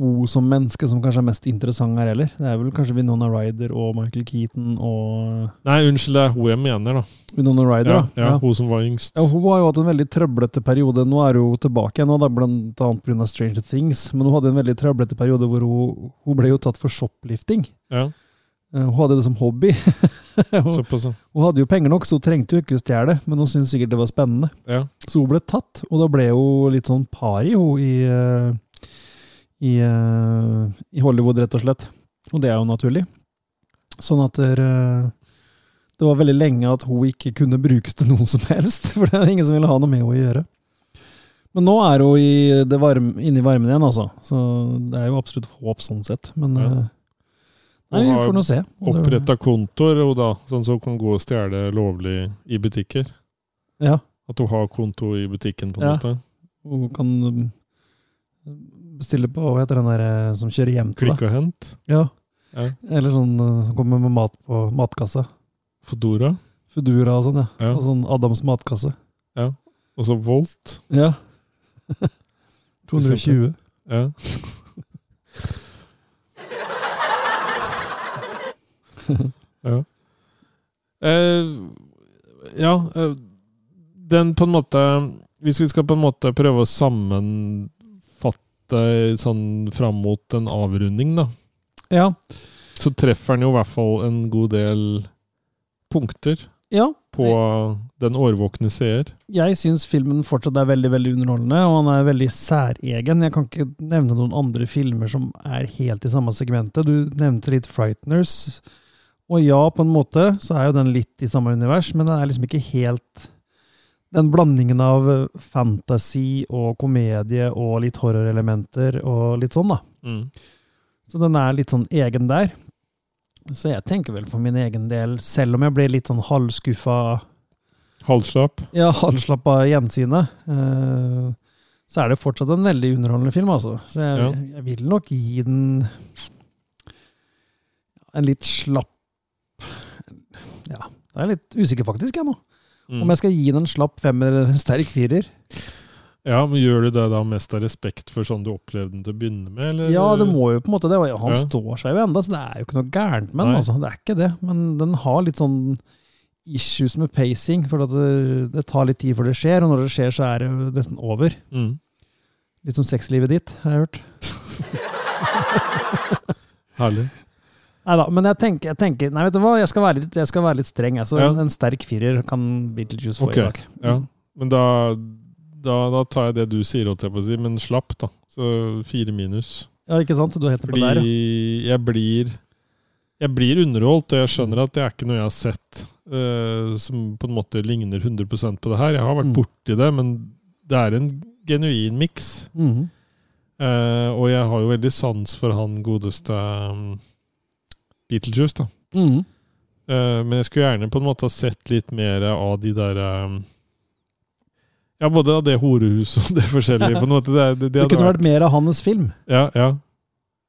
hun som menneske som kanskje er mest interessant her heller. Det er vel kanskje Winona Ryder og Michael Keaton og
Nei, unnskyld, det er hun jeg mener, da.
Winona Ryder,
Ja,
da.
ja, hun som var yngst.
Ja, hun har jo hatt en veldig trøblete periode. Nå er hun tilbake igjen, og det er blant annet pga. Stranger Things. Men hun hadde en veldig trøblete periode hvor hun, hun ble jo tatt for shoplifting.
Ja,
Eh, Hun hadde det som hobby. hun,
såpass, ja.
hun hadde jo penger nok, så hun trengte jo ikke å stjele, men hun syntes sikkert det var spennende.
ja.
Så hun ble tatt, og da ble hun litt sånn pari, hun, i, eh, i, eh, i Hollywood, rett og slett. Og det er jo naturlig. Sånn at der, eh, det var veldig lenge at hun ikke kunne brukes til noen som helst, for det er ingen som ville ha noe med henne å gjøre. Men nå er hun i det varme, inne i varmen igjen, altså. Så det er jo absolutt håp sånn sett. Men
Ja.
eh, nei,
Hun
vi
har
får nå se. om det-
Oppretta kontor, hun da, sånn så hun kan gå og stjele lovlig i butikker.
Ja.
At hun har konto i butikken, på en
Ja.
måte.
Hun kan um, bestille på Hva heter den der eh, som kjører hjem til deg?
Klikk og hent.
Ja.
Ja.
Eller sånn eh, som kommer med mat på matkassa.
Fodora.
Foodora og sånn, ja.
Ja.
Og sånn Adams matkasse.
Og så Volt.
Ja.
For eksempel.
220.
Ja. ja. Eh, ja eh, Den på en måte Hvis vi skal på en måte prøve å sammenfatte sånn fram mot en avrunding, da,
Ja.
så treffer den jo i hvert fall en god del punkter
ja.
på den årvåkne seer.
Jeg syns filmen fortsatt er veldig veldig underholdende, og han er veldig særegen. Jeg kan ikke nevne noen andre filmer som er helt i samme segmentet. Du nevnte litt 'Frighteners'. Og ja, på en måte så er jo den litt i samme univers, men den er liksom ikke helt Den blandingen av eh, fantasy og komedie og litt horrorelementer og litt sånn, da. Så den er litt sånn egen der. Så jeg tenker vel for min egen del, selv om jeg ble litt sånn halvskuffa
Halvslapp.
ja, avslappa gjensynet. eh, så er det fortsatt en veldig underholdende film, altså. Så jeg,
Ja.
jeg vil nok gi den en litt slapp Ja, jeg er litt usikker faktisk, jeg nå.
Mm.
Om jeg skal gi den en slapp femmer eller en sterk firer.
Ja, men Gjør du det da mest av respekt for sånn du opplevde den til å begynne med? Eller?
Ja, det må jo på en måte det. og Han
Eh, Ja.
står seg jo enda, så det er jo ikke noe gærent med den.
Nei.
Altså, det er ikke det. Men den har litt sånn issues med pacing, for at det, det tar litt tid før det skjer, og når det skjer, så er det jo nesten over.
Mm.
Litt som sexlivet ditt, har jeg hørt.
Herlig.
Neida, men jeg tenker, jeg tenker Nei, vet du hva, jeg skal være litt, jeg skal være litt streng. Altså,
Ja.
en, en sterk firer kan Beetlejuice få
Ok,
i dag.
Ja. Men da, da, da tar jeg det du sier, holdt jeg på å si, men slapp, da. Så fire minus.
Ja, ikke sant? Du er helt nede på der, ja.
Fordi jeg blir Jeg blir underholdt, og jeg skjønner at det er ikke noe jeg har sett eh, som på en måte ligner 100 på det her. Jeg har vært
Mm.
borti det, men det er en genuin miks.
Mhm.
Eh, og jeg har jo veldig sans for han godeste um, Beetlejuice, da.
Mhm.
Eh, men jeg skulle gjerne på en måte ha sett litt mer av de der um, Ja, både av det horehuset og det forskjellige. på en måte. Det, er- det, det
Det
hadde
kunne vært mer av hans film.
Ja, ja.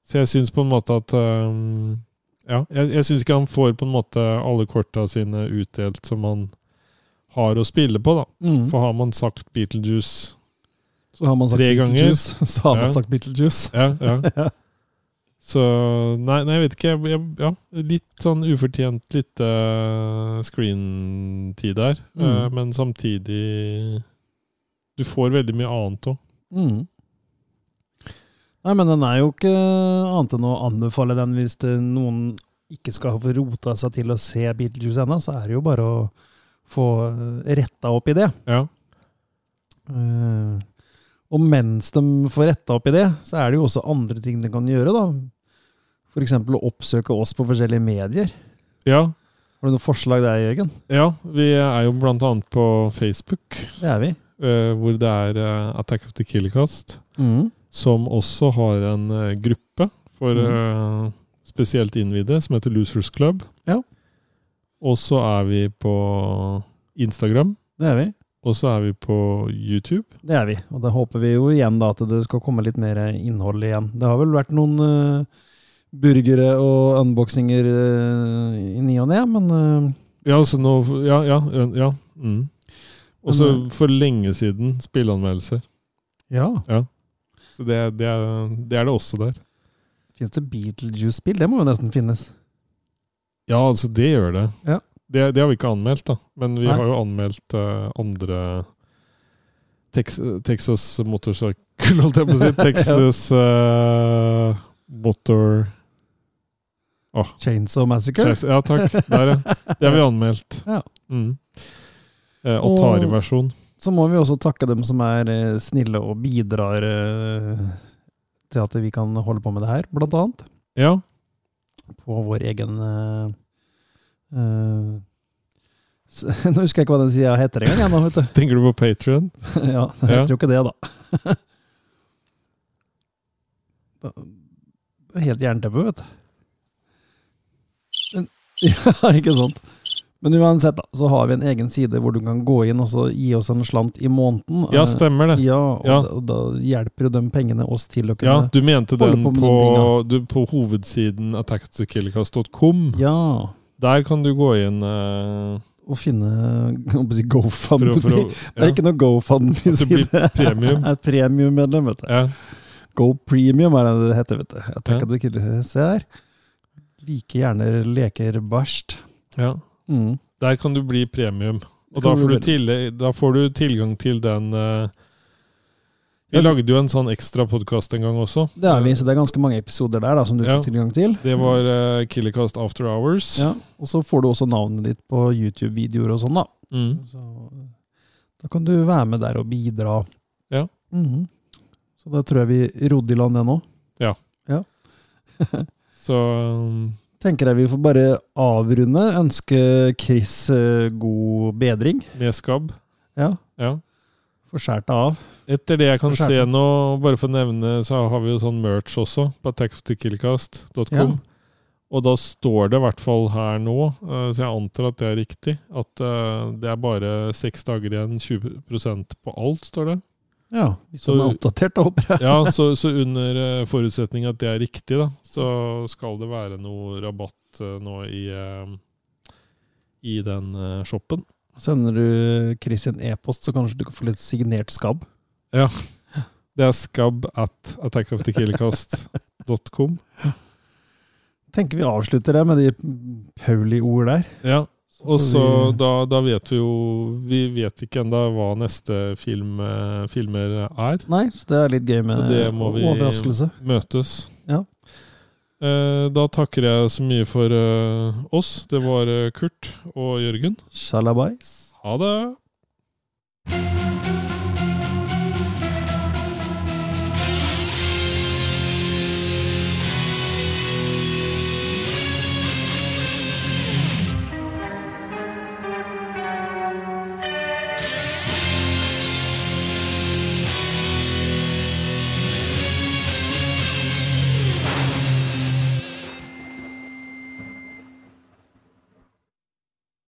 Så jeg syns på en måte at um, Ja, jeg, jeg syns ikke han får på en måte alle korta sine utdelt som han har å spille på, da.
Mhm.
For har man sagt Beetlejuice
Så har man sagt
Tre ganger.
Beetlejuice, så har man
Ja.
sagt Beetlejuice.
Ja, ja. Så Nei, nei jeg vet ikke. Jeg, jeg, ja, litt sånn ufortjent lite screen-tid der.
Mm.
eh, men samtidig Du får veldig mye annet òg.
Mm. Nei, men den er jo ikke annet enn å anbefale den hvis det, noen ikke skal få rota seg til å se Beetlejuice ennå, så er det jo bare å få eh, retta opp i det.
Ja.
Eh, og mens de får retta opp i det, så er det jo også andre ting de kan gjøre, da. F.eks. å oppsøke oss på forskjellige medier.
ja.
Har du noe forslag der, Jørgen?
Ja, vi er jo blant annet på Facebook,
Det er vi.
eh, hvor det er eh, Attack of the Killercast, som også har en eh, gruppe for eh, spesielt innvidde, som heter Losers Club.
Mm. Ja.
Og så er vi på Instagram.
Det er vi.
Og så er vi på YouTube.
Det er vi, og da håper vi jo igjen da at det skal komme litt mer innhold igjen. Det har vel vært noen eh, burgere og unboxinger eh, i ny og ne, men eh,
Ja, altså nå Ja, ja. ja mm. Og så
Men, eh,
for lenge siden spilleanmeldelser.
ja.
Så det, det, er, det er det også der.
Fins det Beetlejuice-spill? Det må jo nesten finnes.
Ja, altså, det gjør det.
Ja.
Det, det har vi ikke anmeldt, da. Men vi
Nei.
har jo anmeldt eh, andre Tex Texas motorsykkel, holdt jeg på å si. Texas eh, motor...
Chainsaw Massacre?
Texas- Ja, takk. Der, ja. Det har vi anmeldt.
Ja.
Mm. Eh, Atari-versjon.
Så må vi også takke dem som er eh, snille og bidrar eh, til at vi kan holde på med det her, blant annet.
Ja.
På vår egen eh, eh, s- Nå husker jeg ikke hva den sida heter engang, jeg nå, vet du.
Tenker du på Patrion?
Ja, jeg
Ja.
tror ikke det, da. Det er Helt jernteppe, vet du. Men, ja, ikke sant. Men uansett, da, så har vi en egen side hvor du kan gå inn og så gi oss en slant i måneden. Eh,
Ja, stemmer det.
Ja, og
Ja.
Da, og da hjelper jo de pengene oss til å
Ja,
kunne
du mente
holde
den
på
på,
med noen
du, på hovedsiden attacktothekillercast.com.
Ja,
Der kan du gå inn eh,
og finne jeg holdt på å si,
for,
GoFundMe.
å- for å
Det
ja.
er ikke
At du
noe
blir
GoFundMe-side.
premium.
Jeg er premiummedlem, vet du.
Ja.
Go Premium er det det heter, vet du. Jeg
Ja.
tenker at du ikke Se her. Like gjerne leker bæsj.
Ja.
Mm.
Der kan du bli premium. Og
Det
da
kan
får,
du
du tillegg, da får du tilgang til den eh, Vi
Ja.
lagde jo en sånn ekstra podkast en gang også.
Det er vi, så det er ganske mange episoder der da, som du
Ja.
får tilgang til.
Det var eh, Killercast After Hours.
Ja. Og så får du også navnet ditt på YouTube-videoer og sånn, da.
Mm.
Så, da kan du være med der og bidra.
Ja.
Mhm. Så da tror jeg vi rodde i land det nå.
Så um,
Tenker jeg vi får bare avrunde. Ønske Chris eh, god bedring.
med skabb.
Ja.
Ja.
Får skåret deg av.
Etter det jeg kan
Skjerpe.
se nå, bare for å nevne, så har vi jo sånn merch også, på attackofthekillcast.com.
Ja.
Og da står det i hvert fall her nå, eh, så jeg antar at det er riktig, at eh, det er bare seks dager igjen, 20 på alt, står det.
Ja, Hvis
Så-
du er oppdatert, da håper jeg.
Ja, så, så under eh, forutsetning at det er riktig, da, så skal det være noe rabatt eh, nå i, eh, i den eh, shoppen.
Sender du Chris en e-post, så kanskje du kan få litt signert skabb.
Ja. Det er skabb at attackofthekillcast.com.
Tenker vi avslutter det med de Pauli-ord der.
Ja. Og så
får vi-
da, da vet vi jo Vi vet ikke ennå hva neste film, eh, filmer er.
Nei, så det er litt gøy med
Så det må vi-
eh, overraskelse.
Møtes.
Ja.
Eh, Da takker jeg så mye for eh, oss. Det var eh, Kurt og Jørgen.
Shalabais.
Ha det!
Thank you.